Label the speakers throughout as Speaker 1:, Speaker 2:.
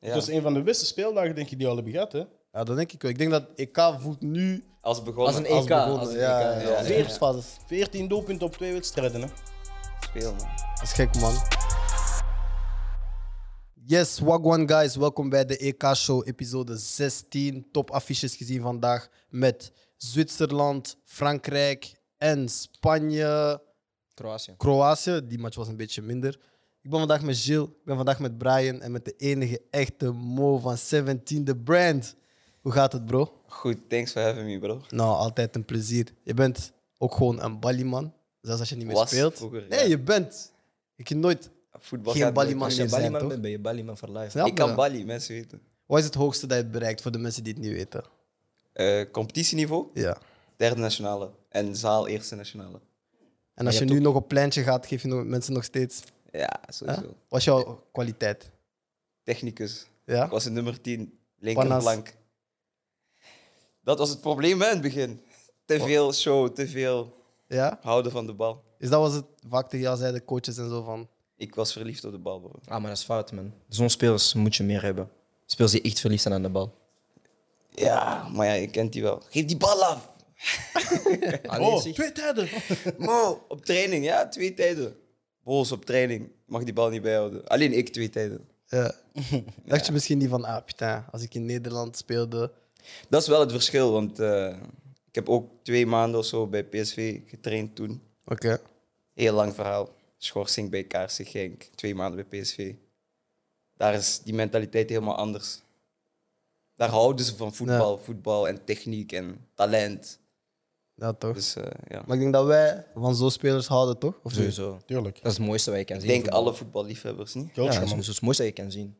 Speaker 1: Ja.
Speaker 2: Dat is Dus een van de beste speeldagen, denk ik, die we al hebben gehad. Hè?
Speaker 3: Ja, dat denk ik wel. Ik denk dat EK voelt nu
Speaker 1: Als begonnen.
Speaker 4: Als een EK.
Speaker 3: begonnen.
Speaker 4: Als een EK.
Speaker 3: Ja, ja, ja.
Speaker 4: ja.
Speaker 3: Groepsfases.
Speaker 2: 14 doelpunten op twee wedstrijden. Hè?
Speaker 1: Speel, man.
Speaker 3: Dat is gek, man. Yes, Wagwan guys, welkom bij de EK-show, episode 16. Topaffiches gezien vandaag met Zwitserland, Frankrijk en Spanje.
Speaker 4: Kroatië.
Speaker 3: Kroatië, die match was een beetje minder. Ik ben vandaag met Gilles, ik ben vandaag met Brian en met de enige echte Mo van 17, de brand. Hoe gaat het, bro?
Speaker 1: Goed, thanks for having me, bro.
Speaker 3: Nou, altijd een plezier. Je bent ook gewoon een ballieman, zelfs als je niet meer
Speaker 1: Was
Speaker 3: speelt.
Speaker 1: vroeger, ja.
Speaker 3: Nee, je bent. Ik heb nooit.
Speaker 1: Voetbal
Speaker 3: Geen
Speaker 1: gaat nooit
Speaker 3: balieman
Speaker 1: meer.
Speaker 4: Als je
Speaker 3: Jullie zijn
Speaker 4: Ballyman
Speaker 3: toch?
Speaker 4: bent, ben je Ballyman voor life.
Speaker 3: Snap
Speaker 1: Ik kan
Speaker 3: je?
Speaker 1: Bali, mensen weten.
Speaker 3: Wat is het hoogste dat je hebt bereikt voor de mensen die het niet weten?
Speaker 1: Eh, competitieniveau,
Speaker 3: Ja.
Speaker 1: derde nationale. En zaal eerste nationale.
Speaker 3: En als
Speaker 4: je
Speaker 3: je,
Speaker 4: hebt
Speaker 3: nu nog op pleintje gaat, geef je nog- mensen nog steeds.
Speaker 1: Ja, sowieso.
Speaker 3: Hè? Wat is jouw kwaliteit?
Speaker 1: Technicus. Ik
Speaker 3: Ja?
Speaker 1: was in nummer 10, linkerflank.
Speaker 3: Panas.
Speaker 1: Dat was het probleem hè, in het begin. Te veel show, te veel
Speaker 3: ja?
Speaker 1: houden van de bal.
Speaker 3: Is dat was het vaak tegen jou zeiden coaches en zo van?
Speaker 1: Ik was verliefd op de bal, bro.
Speaker 4: Ah, maar dat is fout, man. Zo'n spelers moet je meer hebben. Spelers die echt verliefd zijn aan de bal.
Speaker 1: Ja, maar ja, je kent die wel. Geef die bal af!
Speaker 4: Ah, nee,
Speaker 2: Oh,
Speaker 4: zeg.
Speaker 2: twee tijden.
Speaker 1: Mo, op training, ja, twee tijden. Boos op training. Mag die bal niet bijhouden. Alleen ik twee tijden.
Speaker 3: Ja. Dacht je misschien niet van, ah putain, als ik in Nederland speelde.
Speaker 1: Dat is wel het verschil, want eh, ik heb ook twee maanden of zo bij PSV getraind toen.
Speaker 3: Oké.
Speaker 1: Heel lang verhaal. Schorsing bij Kaarsig Genk. Twee maanden bij PSV. Daar is die mentaliteit helemaal anders. Daar houden ze van voetbal. Voetbal en techniek en talent.
Speaker 3: Ja, toch?
Speaker 1: Dus eh, ja.
Speaker 3: Maar ik denk dat wij van zo'n spelers houden, toch? Of niet?
Speaker 4: Sowieso.
Speaker 2: Tuurlijk.
Speaker 4: Dat is het mooiste wat je kan
Speaker 1: Ik
Speaker 4: zien.
Speaker 1: denk
Speaker 4: voetbal.
Speaker 1: alle voetballiefhebbers niet.
Speaker 2: Geldje,
Speaker 4: Ja, dat is
Speaker 2: man.
Speaker 4: dat is het mooiste dat je kan zien.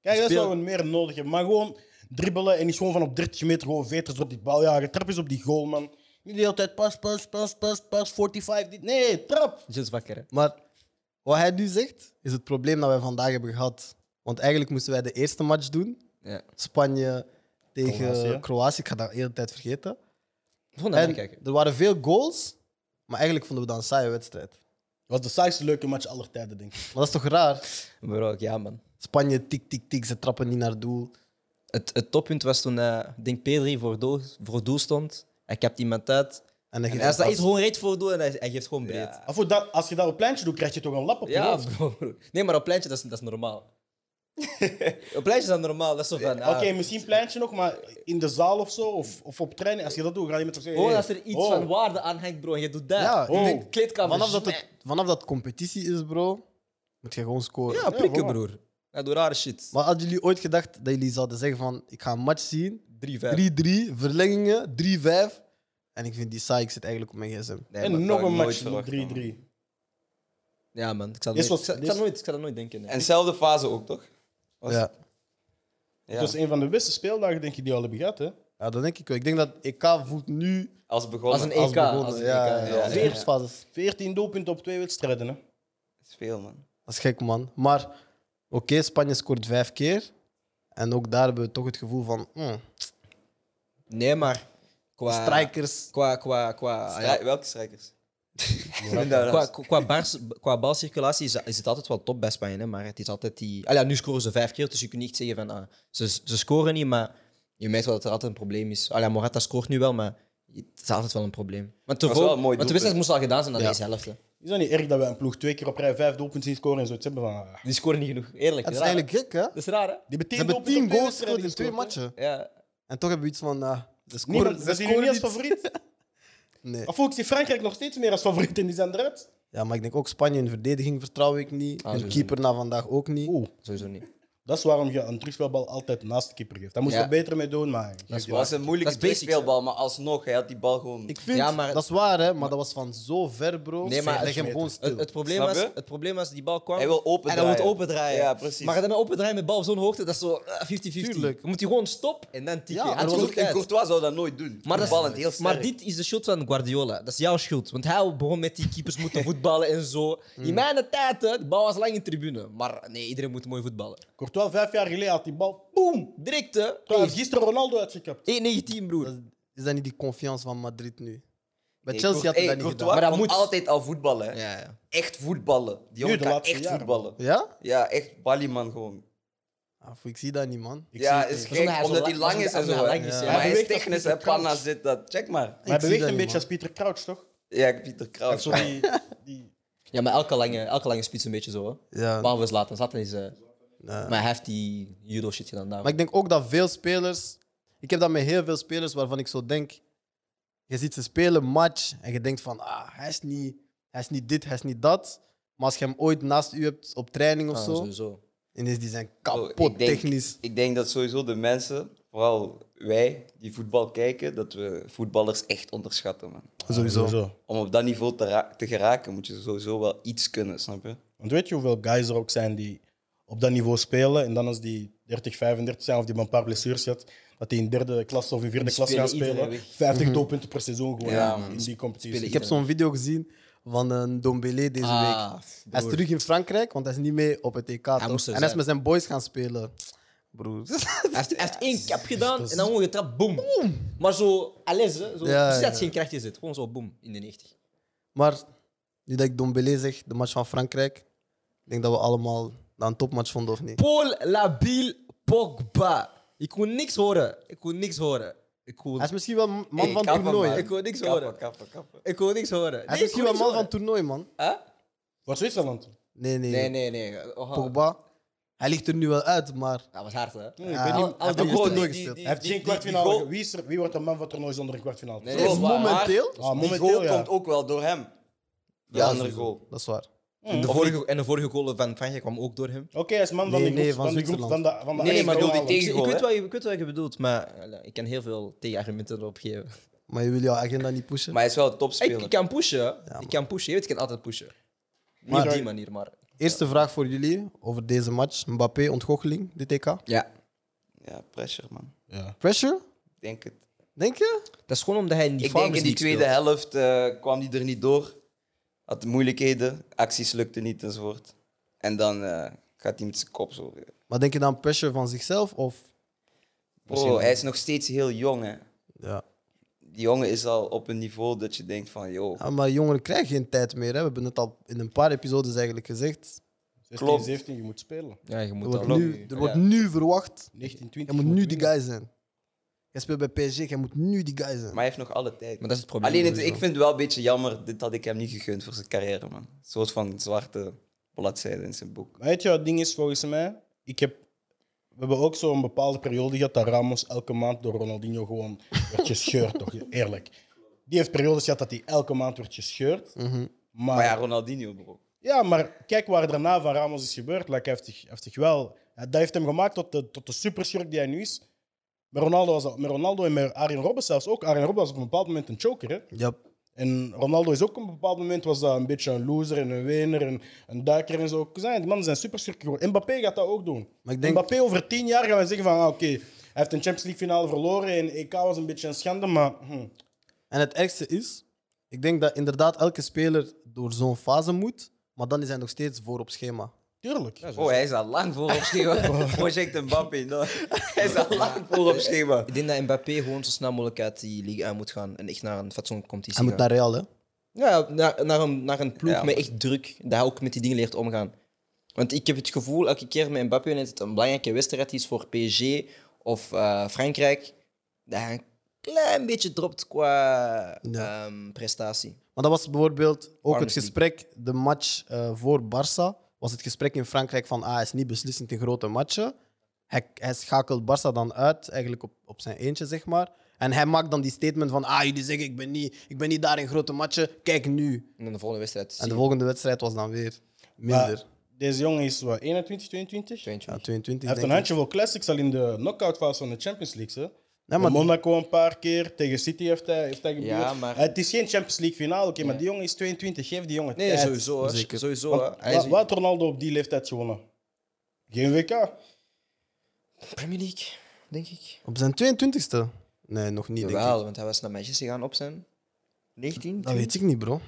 Speaker 2: Kijk, dat is
Speaker 3: Speel-
Speaker 2: wat we meer nodig hebben. Maar gewoon dribbelen en niet gewoon van op 30 meter gewoon veters op die bal jagen. Trap is op die goal, man. Niet de hele tijd pas, pas, pas, pas, pas, 45. Dit. Nee, trap.
Speaker 4: Zit wakker, hè?
Speaker 3: Maar wat hij nu zegt, is het probleem dat wij vandaag hebben gehad. Want eigenlijk moesten wij de eerste match doen.
Speaker 4: Ja.
Speaker 3: Spanje tegen
Speaker 2: Kroatië.
Speaker 3: Kroatië. Ik ga dat de hele tijd
Speaker 4: Ah,
Speaker 3: vergeten.
Speaker 4: Gewoon naar
Speaker 3: En
Speaker 4: kijken.
Speaker 3: er waren veel goals, maar eigenlijk vonden we dat een saaie wedstrijd.
Speaker 2: Dat was de saaiste leuke match aller tijden, denk ik.
Speaker 3: Maar dat is toch raar?
Speaker 4: Bro, ja, man.
Speaker 3: Spanje tik, tik, tik, ze trappen niet naar doel.
Speaker 4: Het, het toppunt was toen, eh, ik denk Pedri voor doel, voor doel stond. Hij kapt iemand uit.
Speaker 3: En dan
Speaker 4: En
Speaker 3: geeft
Speaker 4: hij
Speaker 3: een
Speaker 4: staat
Speaker 3: pas.
Speaker 4: echt gewoon reed voor doel en hij, hij geeft gewoon breed.
Speaker 1: Ja.
Speaker 2: Afo, dat, als je daar op pleintje doet, krijg je toch een lap op je
Speaker 4: Ja,
Speaker 2: hoofd?
Speaker 4: bro, bro. Nee, maar op pleintje, dat is, dat is normaal. op pleintje is dat normaal. Dat is zo van... ah,
Speaker 2: Oké, misschien pleintje nog, maar in de zaal of zo, of, of op training. Als je dat doet, ga je met zeggen...
Speaker 4: Gewoon
Speaker 2: hey,
Speaker 4: als er iets
Speaker 2: oh.
Speaker 4: van waarde aan hangt, bro, en je doet dat.
Speaker 3: eh, Ja,
Speaker 2: Oh.
Speaker 3: ik denk,
Speaker 4: Kleedkamer.
Speaker 3: vanaf dat, het, vanaf dat competitie is, bro, moet je gewoon scoren.
Speaker 4: Ja, prikken,
Speaker 2: voilà.
Speaker 4: broer. Ja, door rare shit.
Speaker 3: Maar hadden jullie ooit gedacht dat jullie zouden zeggen van ik ga een match zien,
Speaker 4: 3-5.
Speaker 3: 3-3, verlengingen, 3-5. En ik vind die saai, ik zit eigenlijk op mijn gsm.
Speaker 4: Nee, maar-
Speaker 2: En nog
Speaker 1: had
Speaker 2: een
Speaker 1: ik nooit
Speaker 2: match,
Speaker 1: verwacht,
Speaker 2: die 3-3.
Speaker 4: Ja, man. Ik zou
Speaker 2: Dit was-
Speaker 4: nooit, ik zou- ik
Speaker 2: dit-
Speaker 4: zou nooit, ik zou dat nooit denken. nee.
Speaker 1: En dezelfde fase ook, toch? Was-
Speaker 3: Ja.
Speaker 1: ja.
Speaker 2: Dat
Speaker 4: Dus
Speaker 2: is een van de beste speeldagen, denk ik, die we al hebben gehad, hè.
Speaker 3: ja, dat denk ik wel. Ik denk dat EK voelt nu
Speaker 1: E Als begonnen.
Speaker 4: Als een EK.
Speaker 3: begonnen.
Speaker 4: Als een
Speaker 3: ja,
Speaker 4: EK.
Speaker 3: ja,
Speaker 1: ja,
Speaker 3: als
Speaker 1: ja.
Speaker 3: groepsfases.
Speaker 2: 14 doelpunten op twee wedstrijden, hè.
Speaker 4: e-
Speaker 1: Speel, man.
Speaker 3: Dat is gek, man. Maar oké, Spanje scoort vijf keer. En ook daar hebben we toch het gevoel van hmm,
Speaker 4: Nee, maar... Qua...
Speaker 3: strikers.
Speaker 4: Qua... Qua...
Speaker 2: Ah,
Speaker 4: Qua...
Speaker 1: Strij-
Speaker 4: ja,
Speaker 1: Welke strijkers?
Speaker 4: Qua, qua, bars, qua balcirculatie is, is het altijd wel top bij Spanje, hè, maar het is altijd die... Ah ja, nu scoren ze vijf keer, dus je kunt niet zeggen van ah, ze, ze scoren niet, maar je merkt wel dat er altijd een probleem is. Ah ja, Morata scoort nu wel, maar het is altijd wel een probleem. Want,
Speaker 1: was
Speaker 4: tevoren,
Speaker 1: wel een mooi
Speaker 4: want de
Speaker 1: doelpunt.
Speaker 4: wedstrijd moest al gedaan zijn na
Speaker 3: Ja.
Speaker 4: deze helft. hè.
Speaker 2: Is dat niet erg dat we een ploeg twee keer op rij vijf doelpunten zien scoren en zoiets hebben van... ah,
Speaker 4: Die scoren niet genoeg, eerlijk.
Speaker 3: Het is
Speaker 4: raar, hè?
Speaker 3: eigenlijk gek, hè?
Speaker 4: Dat is raar, hè?
Speaker 2: Die
Speaker 3: Ze
Speaker 2: hebben
Speaker 3: hebben
Speaker 2: doelpunten op
Speaker 3: tien
Speaker 2: twee
Speaker 3: goals gescoord
Speaker 2: wedstrijden
Speaker 3: in twee
Speaker 2: gescoord, hè.
Speaker 3: matchen.
Speaker 4: Ja.
Speaker 3: En toch hebben we iets van... ah, ze scoren,
Speaker 2: Niemand,
Speaker 3: ze
Speaker 2: dat zien jullie
Speaker 3: scoren
Speaker 2: niet als
Speaker 3: niet.
Speaker 2: favoriet.
Speaker 3: Nee.
Speaker 2: Of ik zie Frankrijk nog steeds meer als favoriet en die zijn eruit.
Speaker 3: Ja, maar ik denk ook Spanje in verdediging vertrouw ik niet.
Speaker 4: Ah,
Speaker 3: Hun
Speaker 4: sowieso
Speaker 3: keeper na vandaag ook niet.
Speaker 2: Oeh.
Speaker 4: Sowieso niet.
Speaker 2: Dat is waarom je een terugspeelbal altijd naast de keeper geeft. Daar moest
Speaker 4: Ja.
Speaker 2: je beter mee doen, maar... Dat
Speaker 1: Het was een moeilijke
Speaker 4: Dat is basic,
Speaker 1: speelbal, maar alsnog, hij had die bal gewoon...
Speaker 3: Ik vind,
Speaker 4: Ja, maar-
Speaker 3: dat is waar, hè, maar dat was van zo ver, bro.
Speaker 4: Nee, maar-
Speaker 3: leg hem gewoon stil.
Speaker 4: Het, het, probleem
Speaker 1: Snap
Speaker 4: was,
Speaker 1: je?
Speaker 4: het probleem was, die bal kwam...
Speaker 1: Hij wil opendraaien.
Speaker 4: En hij wil opendraaien.
Speaker 1: Ja, precies.
Speaker 4: Maar dan opendraaien met bal op zo'n hoogte, dat is zo eh, 50-50.
Speaker 3: Tuurlijk.
Speaker 4: Je moet die gewoon stop en dan tikken.
Speaker 3: Ja,
Speaker 4: En
Speaker 3: er
Speaker 4: het
Speaker 3: was
Speaker 4: komt
Speaker 3: ook
Speaker 1: En
Speaker 4: uit.
Speaker 1: Courtois zou dat nooit doen.
Speaker 4: Maar,
Speaker 1: die
Speaker 4: dat is-
Speaker 1: bal is heel sterk.
Speaker 4: maar dit is de schuld van Guardiola. Dat is jouw schuld. Want hij begon met die keepers moeten voetballen en zo.
Speaker 3: Hmm.
Speaker 4: In mijn tijd, hè, de bal was lang in tribune. Maar nee, iedereen moet mooi voetballen.
Speaker 2: Courtois, vijf jaar geleden had die bal...
Speaker 4: Boom! Direct, hè?
Speaker 2: Hij heeft gisteren Ronaldo uitgekapt.
Speaker 4: 1-19, broer.
Speaker 3: Dat is, is dat niet die confiance van Madrid nu? Bij
Speaker 1: Nee,
Speaker 3: Chelsea
Speaker 1: Cour-
Speaker 3: had hij
Speaker 1: hey,
Speaker 3: dat niet
Speaker 1: Courtois
Speaker 3: gedaan.
Speaker 4: Maar dat
Speaker 1: kon
Speaker 4: moet-
Speaker 1: altijd al voetballen. hè.
Speaker 4: Ja, ja.
Speaker 1: Echt voetballen. Die
Speaker 2: Nu,
Speaker 1: jongen
Speaker 2: de
Speaker 1: kan
Speaker 2: laatste
Speaker 1: echt
Speaker 2: jaren.
Speaker 1: voetballen.
Speaker 3: Ja?
Speaker 1: Ja, echt Baliman gewoon.
Speaker 3: Ah, foei, ik zie dat niet, man.
Speaker 2: Ik
Speaker 1: ja,
Speaker 2: zie het
Speaker 1: is
Speaker 2: niet.
Speaker 4: omdat
Speaker 1: gek,
Speaker 4: hij zo
Speaker 1: omdat hij
Speaker 4: lang-
Speaker 1: lang is en
Speaker 4: omdat
Speaker 1: zo. hè.
Speaker 4: hij lang is, ja.
Speaker 1: Maar
Speaker 4: Hij
Speaker 1: hij is
Speaker 2: beweegt als
Speaker 1: technisch, hè.
Speaker 2: Pieter Crouch.
Speaker 1: Panna zit dat. Check maar.
Speaker 2: Maar hij
Speaker 3: zie
Speaker 2: beweegt een
Speaker 3: dat niet,
Speaker 2: beetje
Speaker 3: man.
Speaker 2: als Pieter Crouch, toch?
Speaker 1: Ja, Pieter
Speaker 2: Hij
Speaker 1: Kraus.
Speaker 2: heeft zo die, die...
Speaker 4: Ja, maar elke lange, elke lange spits een beetje zo. Hè.
Speaker 3: Ja.
Speaker 4: Behalve Zlatan. Zlatan is... eh, Maar hij heeft die judo shit gedaan daar.
Speaker 3: Maar ik denk ook dat veel spelers. Ik heb dat met heel veel spelers waarvan ik zo denk. Je ziet ze spelen match en je denkt van, ah, hij is niet, hij is niet dit, hij is niet dat. Maar als je hem ooit naast u hebt op training of
Speaker 4: Ah,
Speaker 3: zo,
Speaker 4: sowieso.
Speaker 3: ineens die zijn
Speaker 1: Bro,
Speaker 3: kapot
Speaker 1: Oh, ik denk-
Speaker 3: technisch.
Speaker 1: Ik denk dat sowieso de mensen, vooral wij die voetbal kijken, dat we voetballers echt onderschatten. Man.
Speaker 3: Sowieso.
Speaker 1: Om op dat niveau te, ra- te geraken moet je sowieso wel iets kunnen, snap je?
Speaker 2: Want weet je hoeveel guys er ook zijn die op dat niveau spelen en dan als die 30, 35 zijn of die maar een paar blessures had, dat die in derde klas of in vierde
Speaker 4: Die
Speaker 2: klas gaan
Speaker 4: spelen iedereen
Speaker 2: spelen.
Speaker 4: weg.
Speaker 2: 50
Speaker 3: Mhm.
Speaker 2: doelpunten per seizoen gewoon
Speaker 1: Ja,
Speaker 2: in
Speaker 1: man.
Speaker 2: die competitie.
Speaker 3: Ik heb zo'n video gezien van een Dombele deze
Speaker 4: Ah,
Speaker 3: week.
Speaker 4: broer.
Speaker 3: Hij is terug in Frankrijk, want hij is niet mee op het EK. toch?
Speaker 4: moest er
Speaker 3: en hij is
Speaker 4: zijn.
Speaker 3: met zijn boys gaan spelen. Broer.
Speaker 4: Hij heeft, hij heeft
Speaker 3: Dus-
Speaker 4: één cap gedaan en dan gewoon getrapt, boom. Maar zo, alles, hè, zo,
Speaker 3: Ja,
Speaker 4: precies dat
Speaker 3: ja.
Speaker 4: het geen kracht in zit. Gewoon zo, boom, in de 90.
Speaker 3: Maar nu dat ik Dombele zeg, de match van Frankrijk, ik denk dat we allemaal dat een topmatch vonden of niet.
Speaker 4: Paul Labiel Pogba. Ik kon niks horen. Ik kon niks horen. Ik kon,
Speaker 3: Hij is misschien wel man
Speaker 1: Hey,
Speaker 3: van
Speaker 1: kappen,
Speaker 3: toernooi.
Speaker 1: man.
Speaker 4: Ik wil niks
Speaker 1: Kappen,
Speaker 4: horen.
Speaker 1: kappen, kappen.
Speaker 4: ik kon niks horen.
Speaker 3: Hij is
Speaker 4: Nee, ik
Speaker 3: misschien
Speaker 4: kon
Speaker 3: wel
Speaker 4: niks
Speaker 3: man van
Speaker 4: horen.
Speaker 3: toernooi, man.
Speaker 4: Huh?
Speaker 2: Voor Zwitserland.
Speaker 3: Nee, nee.
Speaker 4: Nee, nee, nee. Oh,
Speaker 3: Pogba. Hij ligt er nu wel uit, maar eh,
Speaker 4: Dat was hard, hè?
Speaker 2: Nee, ik
Speaker 3: Ja,
Speaker 2: weet
Speaker 3: al-
Speaker 2: niet.
Speaker 3: al
Speaker 2: Hij heeft
Speaker 3: die
Speaker 2: ook gewoon-
Speaker 3: toernooi
Speaker 2: hij
Speaker 3: gespeeld.
Speaker 1: die-
Speaker 2: heeft
Speaker 1: die-
Speaker 2: geen
Speaker 1: die- die
Speaker 2: kwartfinale.
Speaker 1: goal-
Speaker 2: Wie, is er- wie wordt een man van toernooi zonder een kwartfinale?
Speaker 4: Nee,
Speaker 1: Dat is
Speaker 4: Is
Speaker 1: waar, maar
Speaker 3: momenteel?
Speaker 2: Ah,
Speaker 1: Die
Speaker 2: momenteel,
Speaker 1: goal
Speaker 2: ja.
Speaker 1: komt ook wel door hem. De
Speaker 3: Ja,
Speaker 1: andere
Speaker 3: sowieso.
Speaker 1: goal.
Speaker 3: dat is waar.
Speaker 4: En de,
Speaker 1: Of
Speaker 4: vorige, en de vorige goal van Frankrijk kwam ook door hem.
Speaker 2: Oké, hij is man van
Speaker 3: Nee,
Speaker 2: de
Speaker 3: nee,
Speaker 2: groep,
Speaker 3: van
Speaker 2: van de groep, van
Speaker 3: Zwitserland.
Speaker 2: de, van de
Speaker 1: Nee, maar
Speaker 2: achtste
Speaker 1: door
Speaker 2: finale.
Speaker 1: die
Speaker 4: Ik, ik,
Speaker 1: goal,
Speaker 4: weet
Speaker 1: hè?
Speaker 4: wat je, ik weet wat je bedoelt, maar eh, ik kan heel veel tegenargumenten erop geven.
Speaker 3: Maar je wil jouw agenda niet pushen.
Speaker 1: Maar hij is wel een
Speaker 4: Ik,
Speaker 1: topspeler.
Speaker 4: ik kan pushen. ik kan pushen. Je weet, ik kan altijd pushen. Niet op die manier, maar...
Speaker 3: Eerste vraag voor jullie over deze match. Mbappé, ontgoocheling, dit TK.
Speaker 4: Ja.
Speaker 1: Ja, pressure, man.
Speaker 2: Ja.
Speaker 3: Pressure?
Speaker 1: Ik denk het.
Speaker 3: Denk je?
Speaker 4: Dat is gewoon omdat hij in die
Speaker 1: Ik denk in die
Speaker 4: League
Speaker 1: tweede
Speaker 4: speelt.
Speaker 1: helft eh, kwam hij er niet door. Had moeilijkheden, acties lukten niet enzovoort. En dan eh, gaat hij met zijn kop zo.
Speaker 3: Maar denk je dan pressure van zichzelf of...
Speaker 1: Bro, hij is nog steeds heel jong. Hè.
Speaker 3: Ja.
Speaker 1: Die jongen is al op een niveau dat je denkt van, joh,
Speaker 3: Ja, maar jongeren krijgen geen tijd meer. Hè. We hebben het al in een paar episodes eigenlijk gezegd.
Speaker 2: 16, 17, je moet spelen.
Speaker 4: Ja, je
Speaker 3: Er
Speaker 4: moet
Speaker 3: wordt
Speaker 4: dan...
Speaker 3: nu, er wordt nu verwacht.
Speaker 2: 19,
Speaker 3: Je
Speaker 2: 20.
Speaker 3: moet
Speaker 2: je
Speaker 3: nu die
Speaker 2: winnen.
Speaker 3: guy zijn. Jij speelt bij PSG, jij moet nu die guy zijn.
Speaker 1: maar hij heeft nog alle tijd.
Speaker 4: Maar dat is het e- probleem. dus.
Speaker 1: Alleen, het- ik vind het wel een beetje jammer, dit had ik hem niet gegund voor zijn carrière, man. Een soort van zwarte bladzijde in zijn boek.
Speaker 2: Maar weet je wat het ding is volgens mij? Ik heb, we hebben ook zo'n bepaalde periode gehad dat Ramos elke maand door Ronaldinho gewoon werd gescheurd, toch? Eerlijk. Die heeft periodes gehad dat hij elke maand werd gescheurd. Maar,
Speaker 1: Maar ja,
Speaker 2: ja.
Speaker 1: Ronaldinho, bro.
Speaker 2: maar kijk waar daarna van Ramos is gebeurd. Like, hij heeft, zich- hij heeft zich wel, dat heeft hem gemaakt tot de, tot de superschurk die hij nu is. Met Ronaldo, was dat- met Ronaldo en met Arjen Robben zelfs ook. Arjen Robben was op een bepaald moment een choker. Hè?
Speaker 3: Ja.
Speaker 2: En Ronaldo is ook op een bepaald moment was dat een beetje een loser en een wener en een duiker en zo. Zijn, die mannen zijn supersterk geworden. Mbappé gaat dat ook doen.
Speaker 3: Maar ik denk-
Speaker 2: Mbappé over tien jaar gaan we zeggen van ah, oké, hij heeft een Champions League finale verloren en EK was een beetje een schande, maar hm,
Speaker 3: En het ergste is, ik denk dat inderdaad elke speler door zo'n fase moet, maar dan is hij nog steeds voor op schema.
Speaker 2: tuurlijk.
Speaker 1: Oh, hij is al lang voor op schema. Project Mbappé. no. Hij is al lang voor op schema.
Speaker 4: Ik denk dat Mbappé gewoon zo snel mogelijk uit die league aan moet gaan en echt naar een fatsoenlijke
Speaker 3: Hij
Speaker 4: competitie
Speaker 3: moet
Speaker 4: gaan.
Speaker 3: naar Real, hè?
Speaker 4: Ja, naar, naar, een, naar een ploeg
Speaker 1: Ja,
Speaker 4: met echt druk, dat hij ook met die dingen leert omgaan. Want ik heb het gevoel, elke keer met Mbappé, en het een belangrijke wedstrijd is voor PSG of eh, Frankrijk, dat hij een klein beetje dropt qua
Speaker 3: Ja.
Speaker 4: ehm, prestatie.
Speaker 3: Maar dat was bijvoorbeeld ook het
Speaker 4: Arms League.
Speaker 3: gesprek, de match eh, voor Barça, was het gesprek in Frankrijk van ah, hij is niet beslissend in grote matchen. Hij, hij schakelt Barça dan uit, eigenlijk op, op zijn eentje, zeg maar. En hij maakt dan die statement van ah, jullie zeggen ik ben niet, ik ben niet daar in grote matchen, kijk nu.
Speaker 4: En dan de volgende wedstrijd.
Speaker 3: En
Speaker 4: zien
Speaker 3: de
Speaker 4: we.
Speaker 3: volgende wedstrijd was dan weer
Speaker 2: Maar
Speaker 3: minder.
Speaker 2: deze jongen is wat, 21, 22? Hij
Speaker 4: 22.
Speaker 3: ja, 22
Speaker 2: heeft een
Speaker 3: denk ik.
Speaker 2: handjevol classics al in de knockout fase van de Champions League. Hè? Bij
Speaker 3: Nee, maar
Speaker 2: Monaco een paar keer, tegen City heeft hij, heeft hij gebeurd.
Speaker 4: Ja, maar-
Speaker 2: Het is geen Champions League finale, oké, maar die jongen is 22, geef die jongen
Speaker 4: Nee,
Speaker 2: tijd.
Speaker 4: sowieso. hè. sowieso hè.
Speaker 2: Want,
Speaker 4: Hij
Speaker 2: wa-
Speaker 4: is-
Speaker 2: wat had Ronaldo op die leeftijd gewonnen? Geen WK.
Speaker 4: Premier League, denk ik.
Speaker 3: Op zijn 22e? Nee, nog niet. denk ik.
Speaker 4: Jawel, want hij was naar Manchester gegaan op zijn 19.
Speaker 3: Dat weet ik niet, bro.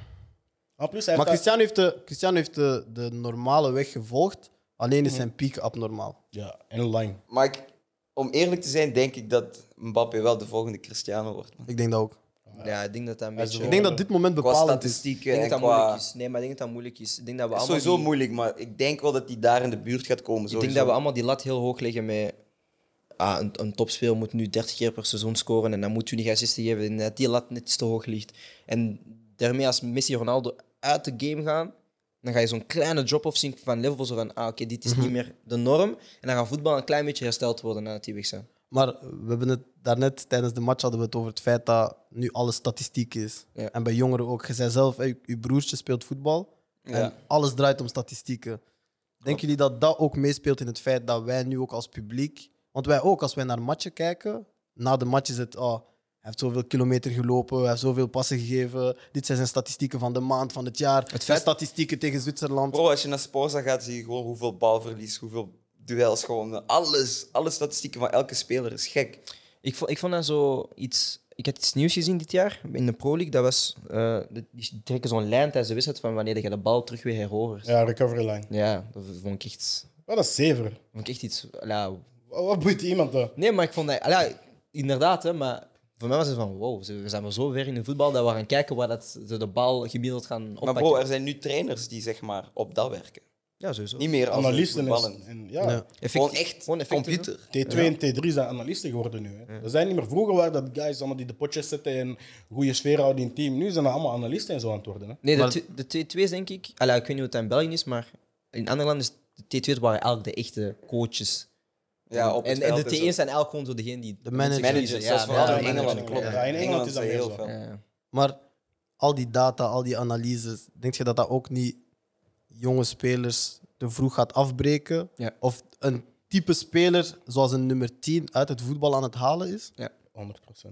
Speaker 2: En plus, hij
Speaker 3: Maar
Speaker 2: heeft
Speaker 3: Cristiano heeft de, Cristiano heeft de, de normale weg gevolgd. Alleen
Speaker 2: Mhm.
Speaker 3: is zijn piek abnormaal.
Speaker 2: dat- Ja, en lang.
Speaker 1: Maar ik- om eerlijk te zijn, denk ik dat Mbappé wel de volgende Cristiano wordt. Man.
Speaker 3: Ik denk dat ook.
Speaker 4: Ja, ik denk dat dat een
Speaker 2: Hij is
Speaker 4: beetje...
Speaker 2: de
Speaker 3: Ik denk dat dit moment
Speaker 1: Qua
Speaker 3: bepalend is.
Speaker 1: statistieken
Speaker 4: Ik denk
Speaker 1: en
Speaker 4: dat dat moeilijk
Speaker 1: qua...
Speaker 4: is. Nee, maar ik denk dat dat moeilijk is. Ik denk dat we
Speaker 1: Het is
Speaker 4: allemaal
Speaker 1: sowieso
Speaker 4: die-
Speaker 1: moeilijk, maar ik denk wel dat die daar in de buurt gaat komen.
Speaker 4: Ik denk dat we allemaal die lat heel hoog leggen met... Ah, een, een topspeler moet nu 30 keer per seizoen scoren en dan moet 20 assisten geven. Ik denk dat die lat net iets te hoog ligt. En daarmee als Messi en Ronaldo uit de game gaan, dan ga je zo'n kleine drop-off zien van level. Zo van, ah, oké, dit is niet meer de norm. En dan gaat voetbal een klein beetje hersteld worden nadat die weg zijn.
Speaker 3: Maar we hebben het daarnet tijdens de match hadden we het over het feit dat nu alles statistiek is.
Speaker 4: Ja.
Speaker 3: En bij jongeren ook. Je zei zelf, hey, je broertje speelt voetbal. En
Speaker 1: Ja.
Speaker 3: alles draait om statistieken. Denken jullie dat dat ook meespeelt in het feit dat wij nu ook als publiek. Want wij ook, als wij naar matchen kijken, na de match is het. ah, hij heeft zoveel kilometer gelopen, hij heeft zoveel passen gegeven. Dit zijn zijn statistieken van de maand, van het jaar. Het
Speaker 4: feit-
Speaker 3: Statistieken tegen Zwitserland.
Speaker 1: Bro, als je naar Sporza gaat, zie je gewoon hoeveel balverlies, hoeveel duels, gewoon alles. Alle statistieken van elke speler is gek.
Speaker 4: Ik vond, ik vond dat zo iets. Ik had iets nieuws gezien dit jaar in de Pro League. Dat was. eh, die trekken zo'n lijn tijdens de wedstrijd van wanneer je de bal terug weer herovert. Ja,
Speaker 2: Ja, recovery line.
Speaker 4: dat vond ik echt,
Speaker 2: Wat een zever.
Speaker 4: vond ik echt iets. ja.
Speaker 2: Wat wat boeit iemand eh, dat?
Speaker 4: nee, maar ik vond dat. ja, inderdaad, hè, maar voor mij was het van wow, ze- we zijn maar zo ver in de voetbal dat we gaan kijken waar dat, ze de bal gemiddeld gaan oppakken.
Speaker 1: Maar bro, er zijn nu trainers die zeg maar op dat werken.
Speaker 4: ja, sowieso.
Speaker 1: Niet meer als
Speaker 2: Analisten is-
Speaker 1: voetballen.
Speaker 2: en ja.
Speaker 3: Ja.
Speaker 4: Effect-
Speaker 1: Gewoon echt
Speaker 4: gewoon effectief,
Speaker 1: computer.
Speaker 2: T2 en T3 zijn analisten geworden nu. Hè. Er zijn niet meer vroeger waren dat guys allemaal die de potjes zetten en goede sfeer houden in het team. Nu zijn dat allemaal analisten en zo aan het worden. Hè.
Speaker 4: Nee, de
Speaker 3: Maar-
Speaker 4: tw- de T2's denk ik. Allee, ik weet niet hoe het in België is, maar in andere landen is de T2's waren eigenlijk de echte coaches.
Speaker 1: Ja, op het
Speaker 4: en, en de
Speaker 1: veld en zo.
Speaker 4: T1's zijn eigenlijk gewoon zo degene die.
Speaker 3: De manager.
Speaker 1: Managers, dat is vooral
Speaker 2: ja,
Speaker 1: in
Speaker 2: manager.
Speaker 1: Engeland, klopt.
Speaker 2: Ja, in Engeland is dat
Speaker 1: zijn
Speaker 2: meer
Speaker 1: heel
Speaker 2: zo.
Speaker 1: veel.
Speaker 4: ja.
Speaker 3: Maar al die data, al die analyses, denk je dat dat ook niet jonge spelers te vroeg gaat afbreken?
Speaker 4: Ja.
Speaker 3: Of een type speler zoals een nummer 10 uit het voetbal aan het halen is?
Speaker 2: 100%.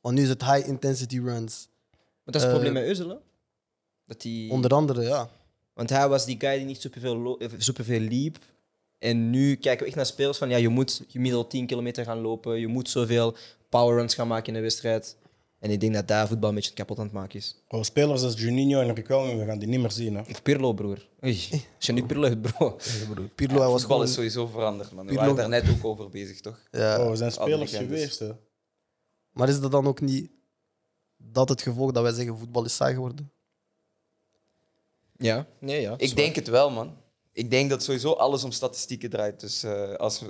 Speaker 3: Want nu is het high intensity runs.
Speaker 4: Maar dat is het
Speaker 3: Eh,
Speaker 4: probleem met Özil, hè? Dat die...
Speaker 3: Onder andere, ja.
Speaker 4: Want hij was die guy die niet superveel, lo- eh, superveel liep. En nu kijken we echt naar spelers van... Ja, je moet gemiddeld 10 kilometer gaan lopen. Je moet zoveel power runs gaan maken in een wedstrijd. En ik denk dat daar voetbal een beetje kapot aan het maken is.
Speaker 2: Gewoon Oh, spelers als Juninho en Riquelme, we gaan die niet meer zien. Hè.
Speaker 4: Of Pirlo, broer. Oei, als je nu Pirlo hebt, bro.
Speaker 3: Pirlo hij was
Speaker 1: Voetbal
Speaker 3: gewoon...
Speaker 1: is sowieso veranderd, man. We
Speaker 3: Pirlo-
Speaker 1: waren daar net ook over bezig, toch?
Speaker 3: Ja.
Speaker 2: Oh, we zijn spelers
Speaker 1: andere legendes.
Speaker 2: geweest. Hè.
Speaker 3: Maar is dat dan ook niet dat het gevolg dat wij zeggen voetbal is saai geworden?
Speaker 4: Ja, nee, ja.
Speaker 1: Ik denk het wel, man. Ik denk dat sowieso alles om statistieken draait. Dus eh, als,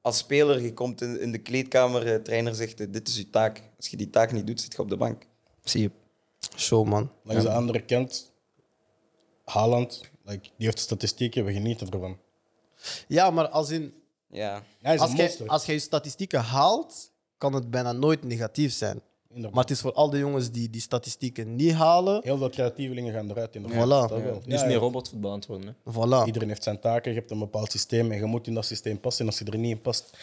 Speaker 1: als speler, je komt in, in de kleedkamer, de trainer zegt, eh, dit is je taak. Als je die taak niet doet, zit je op de bank.
Speaker 4: Zie je.
Speaker 3: Show, man.
Speaker 2: Langs de andere kant, Haaland, like, die heeft statistieken, we genieten ervan.
Speaker 3: Ja, maar als in...
Speaker 1: Ja.
Speaker 2: Hij is
Speaker 3: Als
Speaker 2: een
Speaker 3: jij,
Speaker 2: monster.
Speaker 3: als jij je statistieken haalt, kan het bijna nooit negatief zijn.
Speaker 2: Inderdaad.
Speaker 3: Maar het is voor al de jongens die die statistieken niet halen.
Speaker 2: Heel veel creatievelingen gaan eruit. In de
Speaker 3: Voilà.
Speaker 2: Dat wel.
Speaker 4: Nu is
Speaker 2: Ja,
Speaker 4: meer
Speaker 2: ja.
Speaker 4: robotvoetbal aan het worden, hè.
Speaker 3: Voilà.
Speaker 2: Iedereen heeft zijn taken, je hebt een bepaald systeem en je moet in dat systeem passen. En als je er niet in past,